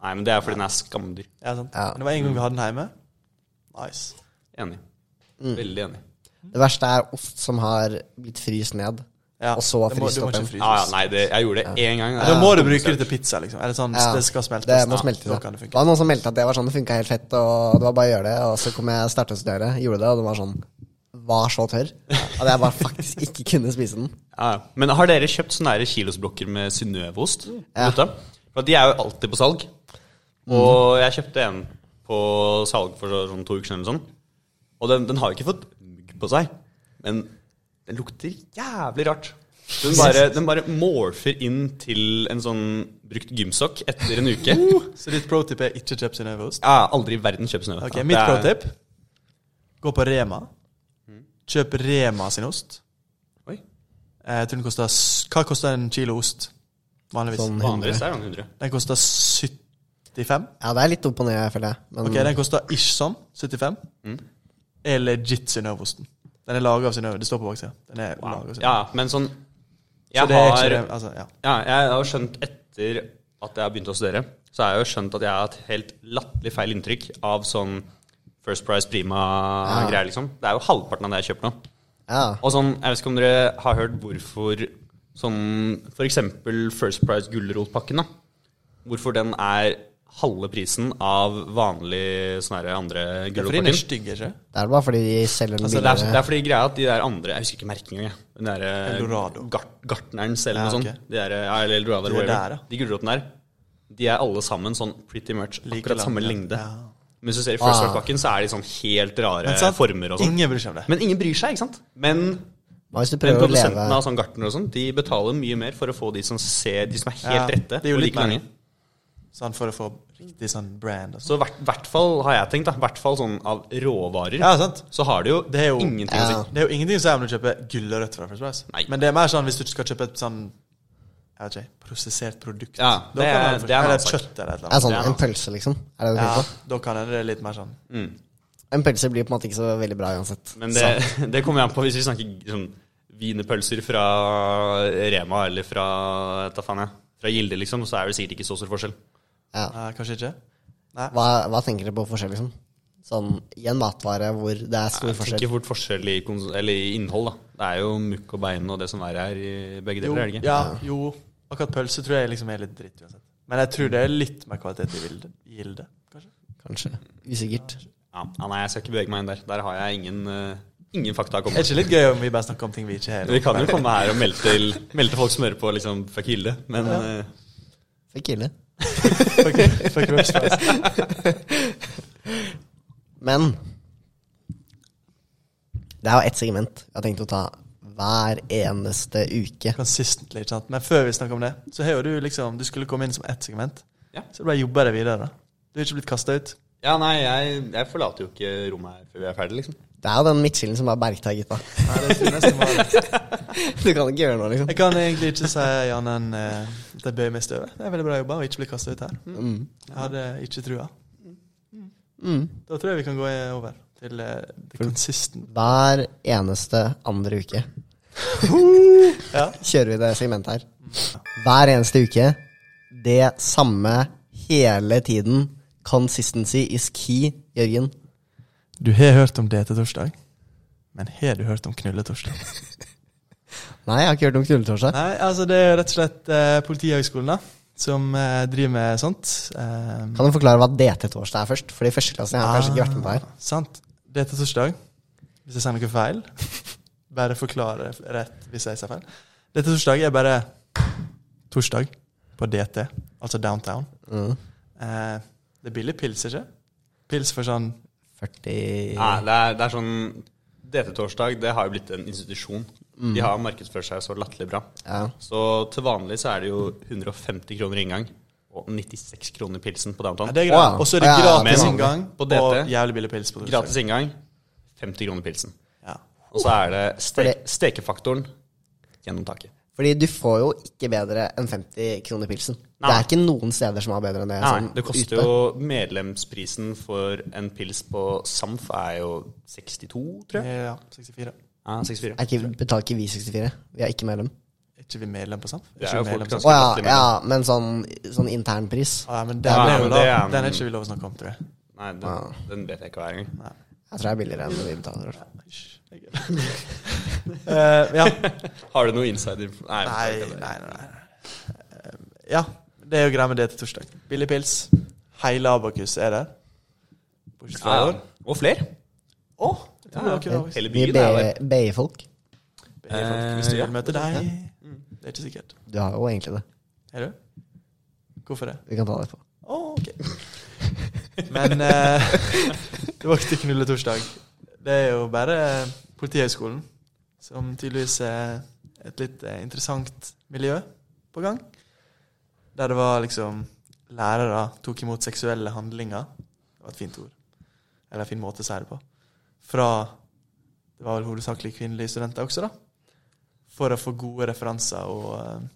Speaker 4: Nei, men det er fordi den er skamdyr.
Speaker 1: Ja, sant?
Speaker 2: Ja.
Speaker 1: Men det var en gang vi hadde den hjemme. Nice.
Speaker 4: Enig. Veldig enig.
Speaker 2: Det verste er ost som har blitt fryst ned,
Speaker 1: Ja,
Speaker 2: og så
Speaker 1: det må-
Speaker 2: fryst
Speaker 1: du må
Speaker 2: opp
Speaker 1: ikke
Speaker 2: igjen.
Speaker 1: fryse.
Speaker 4: Ja, ja, nei, det, jeg gjorde det én gang.
Speaker 1: Da må du bruke det til pizza, liksom. Eller sånn,
Speaker 2: Ja,
Speaker 1: Det skal smeltes.
Speaker 2: Det må
Speaker 1: Ja,
Speaker 2: smelte
Speaker 1: da
Speaker 2: seg.
Speaker 1: kan det
Speaker 2: Det
Speaker 1: funke.
Speaker 2: var noen som meldte at det var sånn det funka helt fett, og det var bare å gjøre det. Og så kom jeg startestudere, gjorde det, og den var sånn Var så tørr. At jeg bare
Speaker 4: (laughs)
Speaker 2: faktisk ikke kunne spise den.
Speaker 4: Ja, ja. Men har dere kjøpt sånne her kilosblokker med Synnøve-ost?
Speaker 2: Ja.
Speaker 4: gutta? For de er jo alltid på salg. Og jeg kjøpte en på salg for så- sånn to uker siden eller sånn. Og den, den har jo ikke fått mugg på seg, men den lukter jævlig rart. Den bare, den bare morfer inn til en sånn brukt gymsokk etter en uke.
Speaker 1: Så ditt pro-tip er ikke kjøp Synnøve-ost?
Speaker 4: Jeg har aldri i verden kjøpt Synnøve.
Speaker 1: Ok,
Speaker 4: Det
Speaker 1: Mitt
Speaker 4: er-
Speaker 1: pro-tip gå på Rema. Kjøp Rema sin ost.
Speaker 4: Oi,
Speaker 1: Eh, Jeg tror den koster s- Hva koster en kilo ost vanligvis?
Speaker 2: Sånn.
Speaker 4: vanligvis er den 100.
Speaker 1: Den koster 75.
Speaker 2: Ja, det er litt opp og ned, føler jeg. Men
Speaker 1: Ok, den koster ish sånn. 75. Er legit Synnøve-osten. Den er laga av Synnøve. Det står på baksida. Den er laget av Synnøve.
Speaker 4: Ja, men sånn
Speaker 1: Så
Speaker 4: Jeg
Speaker 1: det er
Speaker 4: har
Speaker 1: ikke det, altså, ja.
Speaker 4: Ja, jeg har jo skjønt etter at jeg har begynt å studere, så har jeg jo skjønt at jeg har hatt helt latterlig feil inntrykk av sånn First Price Prima-greier, liksom. Det er jo halvparten av det jeg kjøper nå.
Speaker 2: ja.
Speaker 4: Og sånn, jeg vet ikke om dere har hørt hvorfor sånn For eksempel First Price gulrotpakken, da. Hvorfor den er halve prisen av vanlig sånne her andre
Speaker 1: Det er fordi den er
Speaker 4: gulrotpakken.
Speaker 1: stygg, ikke
Speaker 2: Det er bare fordi de selger den
Speaker 4: Altså, det, er,
Speaker 2: billigere.
Speaker 4: det er fordi greia er at de der andre Jeg husker ikke merken engang. jeg. Den der eh,
Speaker 1: Eldorado.
Speaker 4: gart, Gartnerens eller
Speaker 1: Ja, ok.
Speaker 4: noe sånt. sånn. De der, eh, ja, eller
Speaker 1: De
Speaker 4: Eldorado eller
Speaker 1: der,
Speaker 4: whatever.
Speaker 1: ja.
Speaker 4: De gulrotene der, de er alle sammen sånn pretty much
Speaker 1: Like
Speaker 4: akkurat samme
Speaker 1: lang, ja.
Speaker 4: lengde.
Speaker 1: Ja.
Speaker 4: Men hvis du ser i First
Speaker 2: Ah.
Speaker 4: Rock-pakken, så er de sånn helt rare
Speaker 1: Men sant?
Speaker 4: former og sånn.
Speaker 1: Ingen bryr seg om det.
Speaker 4: Men ingen bryr seg, ikke sant? Men
Speaker 2: Men hvis du
Speaker 4: men
Speaker 2: prøver å leve
Speaker 4: produsentene av sånn gartner og sånn, de betaler mye mer for å få de som ser De som er helt
Speaker 1: Ja,
Speaker 4: rette
Speaker 1: det er jo
Speaker 4: og
Speaker 1: litt
Speaker 4: like lange.
Speaker 1: mer. Sånn for å få riktig sånn brand. Og sånn.
Speaker 4: Så i hvert, hvert fall, har jeg tenkt, da, hvert fall sånn av råvarer,
Speaker 1: Ja, sant.
Speaker 4: så har det jo,
Speaker 1: Det er jo-
Speaker 4: ingenting å si.
Speaker 2: Ja.
Speaker 1: Det er jo ingenting å si om du kjøper gulrøtter fra First Price.
Speaker 4: Nei.
Speaker 1: Men det er mer sånn hvis du skal kjøpe et sånn jeg vet ikke, prosessert produkt.
Speaker 4: Ja,
Speaker 1: Da
Speaker 4: det
Speaker 1: kan
Speaker 4: er-
Speaker 1: jeg-
Speaker 4: det er en
Speaker 1: eller
Speaker 4: annen
Speaker 1: et
Speaker 4: sak.
Speaker 1: kjøtt eller et eller
Speaker 2: er
Speaker 1: annet.
Speaker 2: sånn,
Speaker 4: det er
Speaker 2: En
Speaker 4: noe.
Speaker 2: pølse, liksom. Er det du
Speaker 1: Ja,
Speaker 2: tenker på?
Speaker 1: da kan hende det er litt mer sånn
Speaker 4: Mm.
Speaker 2: En pølse blir på en måte ikke så veldig bra uansett.
Speaker 4: Men det, det kommer jo an på hvis vi snakker sånn wienerpølser fra Rema eller fra vet da faen jeg, fra Gilde, liksom, så er det sikkert ikke så stor forskjell.
Speaker 2: Ja.
Speaker 1: Nei, Kanskje ikke? Nei.
Speaker 2: Hva, hva tenker dere på forskjell, liksom? Sånn i en matvare hvor det er stor
Speaker 4: Jeg
Speaker 2: forskjell.
Speaker 4: tenker fort forskjell i, kons eller i innhold, da. Det er jo mukk og bein og det som verre er i begge
Speaker 1: Jo,
Speaker 4: deler, er det ikke?
Speaker 1: ja, jo, akkurat pølse tror jeg liksom er litt dritt uansett. Men jeg tror det er litt mer kvalitet i Gilde, Gilde kanskje.
Speaker 2: Kanskje. Usikkert.
Speaker 4: Ja. ja, Nei, jeg skal ikke bevege meg inn der. Der har jeg ingen, eh, ingen fakta å
Speaker 1: Er
Speaker 4: komme
Speaker 1: det ikke litt gøy om vi bare snakker om ting vi ikke har?
Speaker 4: Vi kan jo komme her og melde til, melde til folk som hører på, liksom fuck Gilde, men eh,
Speaker 2: Fikk ille.
Speaker 1: Fuck- fuck First Price.
Speaker 2: (laughs) Men det er jo ett segment jeg har tenkt å ta hver eneste uke.
Speaker 1: Consistently, ikke sant? Men før vi snakker om det, så har jo du liksom Du skulle komme inn som ett segment.
Speaker 4: Ja.
Speaker 1: Så du bare jobber deg videre. Du er ikke blitt kasta ut.
Speaker 4: Ja, nei, jeg, jeg forlater jo ikke rommet her før vi er ferdig, liksom.
Speaker 2: Det er jo den midtskillen som bare bergtar, gutta. (laughs)
Speaker 1: Nei, det tror jeg nesten var-
Speaker 2: Du kan ikke gjøre noe, liksom.
Speaker 1: Jeg kan egentlig ikke si annet enn eh, at jeg bøyer meg i støvet. Det er veldig bra jobba å ikke bli kasta ut her. Jeg hadde ikke trua. Mm. Da tror jeg vi kan gå eh, over til eh, the consistent.
Speaker 2: Hver eneste andre uke (laughs)
Speaker 1: Ja.
Speaker 2: kjører vi det segmentet her. Hver eneste uke. Det samme hele tiden. Consistency is key, Jørgen.
Speaker 1: Du har hørt om DT-torsdag, men har du hørt om knulletorsdag?
Speaker 2: Nei, jeg har ikke hørt om knulletorsdag.
Speaker 1: Nei, altså det er rett og slett eh, Politihøgskolen da, som eh, driver med sånt. Eh,
Speaker 2: Kan du forklare hva DT-torsdag er først? Fordi førsteklassingen har kanskje ikke vært med på her.
Speaker 4: Ah.
Speaker 1: Sant. Det er til torsdag. Hvis jeg sier noe feil, bare forklare rett hvis jeg sier feil. Det er til torsdag er bare torsdag på DT, altså downtown. Eh, det er billig pils, ikke? Pils for sånn
Speaker 2: 40
Speaker 4: Nei, det er, det er sånn DT-torsdag det har jo blitt en institusjon.
Speaker 2: Mm.
Speaker 4: De har markedsført seg så latterlig bra.
Speaker 2: Ja.
Speaker 4: Så til vanlig så er det jo 150 kroner inngang og 96 kroner pilsen på
Speaker 1: ja,
Speaker 4: downtown.
Speaker 1: det er
Speaker 2: Å, ja.
Speaker 1: greit. Og så er det
Speaker 2: Ja, ja, ja.
Speaker 1: gratis
Speaker 4: Men
Speaker 1: inngang
Speaker 4: på
Speaker 1: og
Speaker 4: DT?
Speaker 1: jævlig billig pils på torsdag.
Speaker 4: Gratis inngang, 50 kroner pilsen.
Speaker 1: Ja.
Speaker 4: Og så er det
Speaker 2: Uh.
Speaker 4: ste
Speaker 2: For det-
Speaker 4: stekefaktoren gjennom taket.
Speaker 2: Fordi du får jo ikke bedre enn 50 kroner pilsen. Det
Speaker 4: Nei.
Speaker 2: er ikke noen steder som har bedre enn det.
Speaker 4: Nei,
Speaker 2: sånn
Speaker 4: det koster
Speaker 2: ute.
Speaker 4: jo Medlemsprisen for en pils på SAMF er jo 62, tror jeg.
Speaker 1: Ja, 64.
Speaker 4: Ja, 64.
Speaker 2: Er ikke, Betaler ikke vi 64? Vi er ikke medlem.
Speaker 1: Er ikke vi medlem på SAMF? Er
Speaker 4: Det er
Speaker 1: ikke
Speaker 4: jo
Speaker 1: vi
Speaker 4: folk altså.
Speaker 1: medlem på
Speaker 4: ganske-
Speaker 1: SAMF?
Speaker 2: Å ja, ja, men sånn, sånn internpris.
Speaker 1: Å ja, men
Speaker 4: Ja,
Speaker 1: den, er jo
Speaker 4: men
Speaker 1: lov.
Speaker 4: det er-
Speaker 1: den er ikke vi lov å snakke om, tror jeg.
Speaker 4: Nei, den, den vet jeg ikke hver gang.
Speaker 2: Jeg tror det er billigere enn det vi betaler. i hvert fall.
Speaker 1: (laughs) Eh, ja.
Speaker 4: Har du noe insider? Nei.
Speaker 1: Nei,
Speaker 4: jeg vet
Speaker 1: nei,
Speaker 4: ikke.
Speaker 1: nei. nei. Eh, ja, det er jo greia med det til torsdag. Billig pils. Hele Abakus er der. Bortsett fra
Speaker 4: Ja,
Speaker 1: i
Speaker 4: ja.
Speaker 1: år.
Speaker 4: Og flere.
Speaker 1: Å! jeg tror det var ikke det.
Speaker 4: Hele
Speaker 2: Mye
Speaker 4: byen er der.
Speaker 2: B- BI-folk.
Speaker 1: Det er faktisk- Hvis du
Speaker 4: Eh, ja.
Speaker 1: vil møte deg Det er ikke sikkert.
Speaker 2: Du har jo egentlig det.
Speaker 1: Er du? Hvorfor det?
Speaker 2: Vi kan ta det på.
Speaker 1: Å, ok. Men (laughs) eh, tilbake til knulletorsdag. Det er jo bare Politihøgskolen som tydeligvis er et litt eh, interessant miljø på gang. Der det var liksom lærere tok imot seksuelle handlinger. Det var et fint ord. Eller en fin måte å si det på. Fra Det var vel hovedsakelig kvinnelige studenter også, da. For å få gode referanser og eh,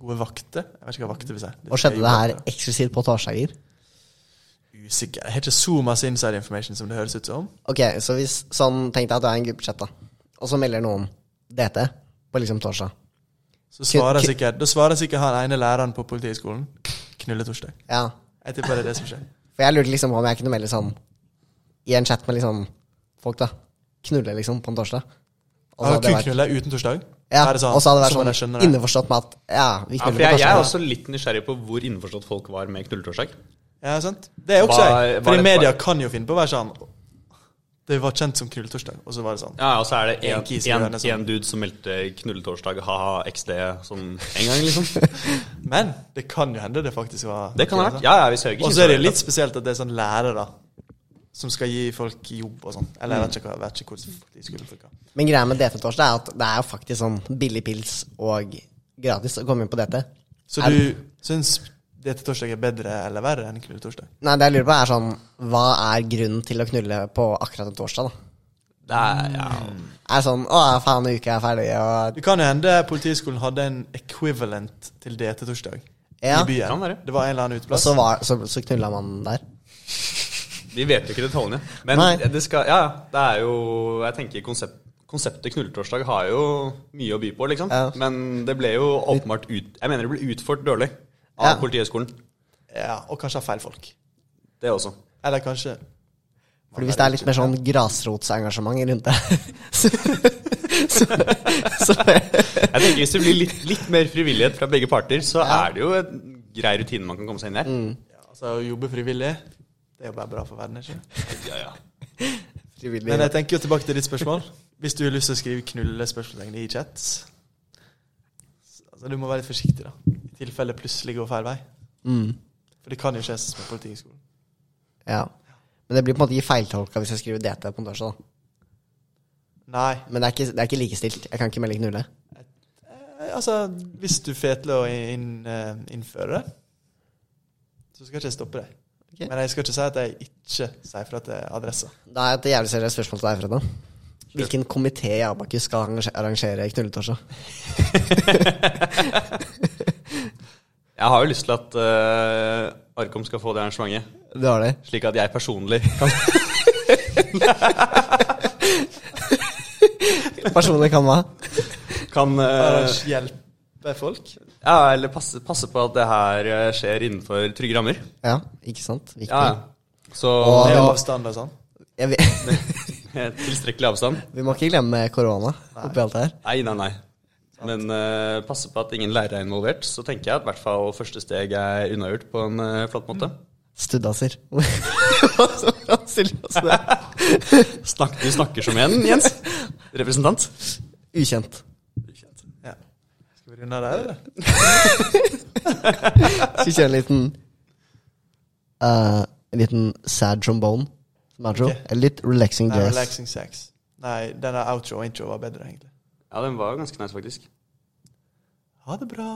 Speaker 1: gode vakter. Jeg vet ikke hva vakter vil si.
Speaker 2: Og skjedde det her eksklusivt på torsdager?
Speaker 1: Usikker. Jeg har ikke så masse inside information som det høres ut som.
Speaker 2: Ok, så hvis sånn Tenk deg at du er i en gruppechat, da. Og så melder noen DT på liksom torsdag.
Speaker 1: Så svarer sikkert, Da svarer sikkert han ene læreren på Politihøgskolen knulletorsdag.
Speaker 2: Ja.
Speaker 1: Jeg tipper det er det som skjer.
Speaker 2: For jeg lurte liksom om jeg kunne melde sånn i en chat med liksom folk, da. Knulle liksom på en torsdag. Og så
Speaker 1: Han
Speaker 2: hadde det
Speaker 1: kun
Speaker 2: vært,
Speaker 1: knuller uten torsdag? Da
Speaker 2: ja,
Speaker 1: Ah, er
Speaker 2: og så hadde
Speaker 1: så må
Speaker 2: det vært
Speaker 1: jeg
Speaker 2: sånn
Speaker 1: skjønne det.
Speaker 2: innforstått med at ja, vi knuller
Speaker 4: Ja, for jeg,
Speaker 2: på
Speaker 4: jeg er
Speaker 2: torsdag.
Speaker 4: også litt nysgjerrig på hvor innforstått folk var med knulletorsdag.
Speaker 1: Ja, sant? Det er også
Speaker 4: Hva-
Speaker 1: jeg.
Speaker 4: hva
Speaker 1: For
Speaker 4: er
Speaker 1: i
Speaker 4: det-
Speaker 1: media kan jo finne på å være sånn Det var kjent som knulletorsdag, og så var det sånn.
Speaker 4: Ja, og så er det
Speaker 1: En kis i hjørnet, sånn.
Speaker 4: én dude som meldte knulletorsdag, ha-ha, XD, sånn en gang, liksom.
Speaker 1: Men det kan jo hende det faktisk var
Speaker 4: Det kan ha vært. Ja, ja, vi søker
Speaker 1: Og så er det jo litt spesielt at det er sånn lærere som skal gi folk jobb og sånn. Eller jeg vet ikke, hva- jeg vet ikke hvordan de skulle funka.
Speaker 2: Men greia med DT torsdag er at det er jo faktisk sånn billig pils og gratis å komme inn på DT.
Speaker 1: Så
Speaker 2: Er-
Speaker 1: du syns dette torsdag er bedre eller verre enn knulletorsdag?
Speaker 2: Nei, det jeg lurer på er sånn Hva er grunnen til å knulle på akkurat en torsdag, da?
Speaker 4: Det er, ja.
Speaker 2: Er det sånn Å, faen, uka er ferdig, og
Speaker 1: Det kan jo hende Politihøgskolen hadde en equivalent til det til torsdag
Speaker 2: Ja.
Speaker 1: i byen. altså.
Speaker 4: Kan være.
Speaker 1: Det var en eller annen
Speaker 2: Og
Speaker 1: uteplass.
Speaker 2: så, var, så, så knulla man der.
Speaker 4: Vi vet jo ikke detaljene. Men
Speaker 2: Nei.
Speaker 4: det skal Ja, ja, det er jo Jeg tenker konsept, konseptet knulletorsdag har jo mye å by på, liksom.
Speaker 2: Ja.
Speaker 4: Men det ble jo åpenbart ut Jeg mener det ble utført dårlig av
Speaker 2: Ja.
Speaker 4: Politihøgskolen.
Speaker 1: Ja, og kanskje av feil folk.
Speaker 4: Det også.
Speaker 1: Eller kanskje
Speaker 2: Fordi hvis det er litt mer sånn grasrotsengasjement rundt det (laughs) så, så, så,
Speaker 4: Jeg tenker Hvis det blir litt, litt mer frivillighet fra begge parter, så er det jo en grei rutine man kan komme seg inn i.
Speaker 1: ja, altså, å jobbe frivillig. Det er jo bare bra for verden, ikke sant?
Speaker 4: Ja, ja.
Speaker 1: Men jeg tenker jo tilbake til ditt spørsmål. Hvis du har lyst til å skrive knullespørsmålstegn i chats så- altså, Du må være litt forsiktig, da. I tilfelle plutselig går feil vei.
Speaker 2: Mm.
Speaker 1: For det kan jo skje sånn som på Politihøgskolen.
Speaker 2: Ja. Men det blir på en måte ikke feiltolka hvis jeg skriver DT på en torsdag. da.
Speaker 1: Nei.
Speaker 2: Men det er, ikke, det er ikke likestilt. Jeg kan ikke melde knulle.
Speaker 1: Eh, Altså, hvis du får til å inn, eh, innføre det, så skal ikke jeg stoppe deg.
Speaker 2: Ok.
Speaker 1: Men jeg skal ikke si at jeg ikke sier fra til adressa.
Speaker 2: Da er et jævlig seriøst spørsmål til deg, Fredda. Hvilken komité i Abakus skal arrange- arrangere knulletorsdag?
Speaker 4: Jeg har jo lyst til at eh, Arkom skal få det arrangementet,
Speaker 2: Du har det?
Speaker 4: slik at jeg personlig (laughs) kan
Speaker 2: Personlig kan hva?
Speaker 4: kan, eh,
Speaker 1: Arrange- Hjelpe folk.
Speaker 4: Ja, eller passe, passe på at det her eh, skjer innenfor trygge rammer.
Speaker 2: Ja, ikke sant? Viktig.
Speaker 4: Ja, ja. Så
Speaker 2: Og-
Speaker 1: Med
Speaker 2: det må-
Speaker 1: avstand og sånn.
Speaker 2: Jeg vet- (laughs)
Speaker 4: eh, tilstrekkelig avstand.
Speaker 2: vi må ikke glemme korona oppi alt det her.
Speaker 4: Nei, nei, nei. Men eh, passe på at ingen lærere er involvert. Så tenker jeg at i hvert fall første steg er unnagjort på en eh, flott måte.
Speaker 2: Studdaser. Hva som kan stille oss det?
Speaker 4: Snakk, du snakker som en, Jens. Representant.
Speaker 2: (laughs) Ukjent.
Speaker 1: Ja. Skal vi runde av der, eller?
Speaker 2: Skal vi kjøre en liten eh, En liten sad trombone som outro?
Speaker 1: Ok.
Speaker 2: Eller litt relaxing
Speaker 1: Nei,
Speaker 2: jazz.
Speaker 1: relaxing sex. Nei, denne outro og intro var bedre, egentlig.
Speaker 4: Ja, den var jo ganske nice, faktisk.
Speaker 1: Ha det bra.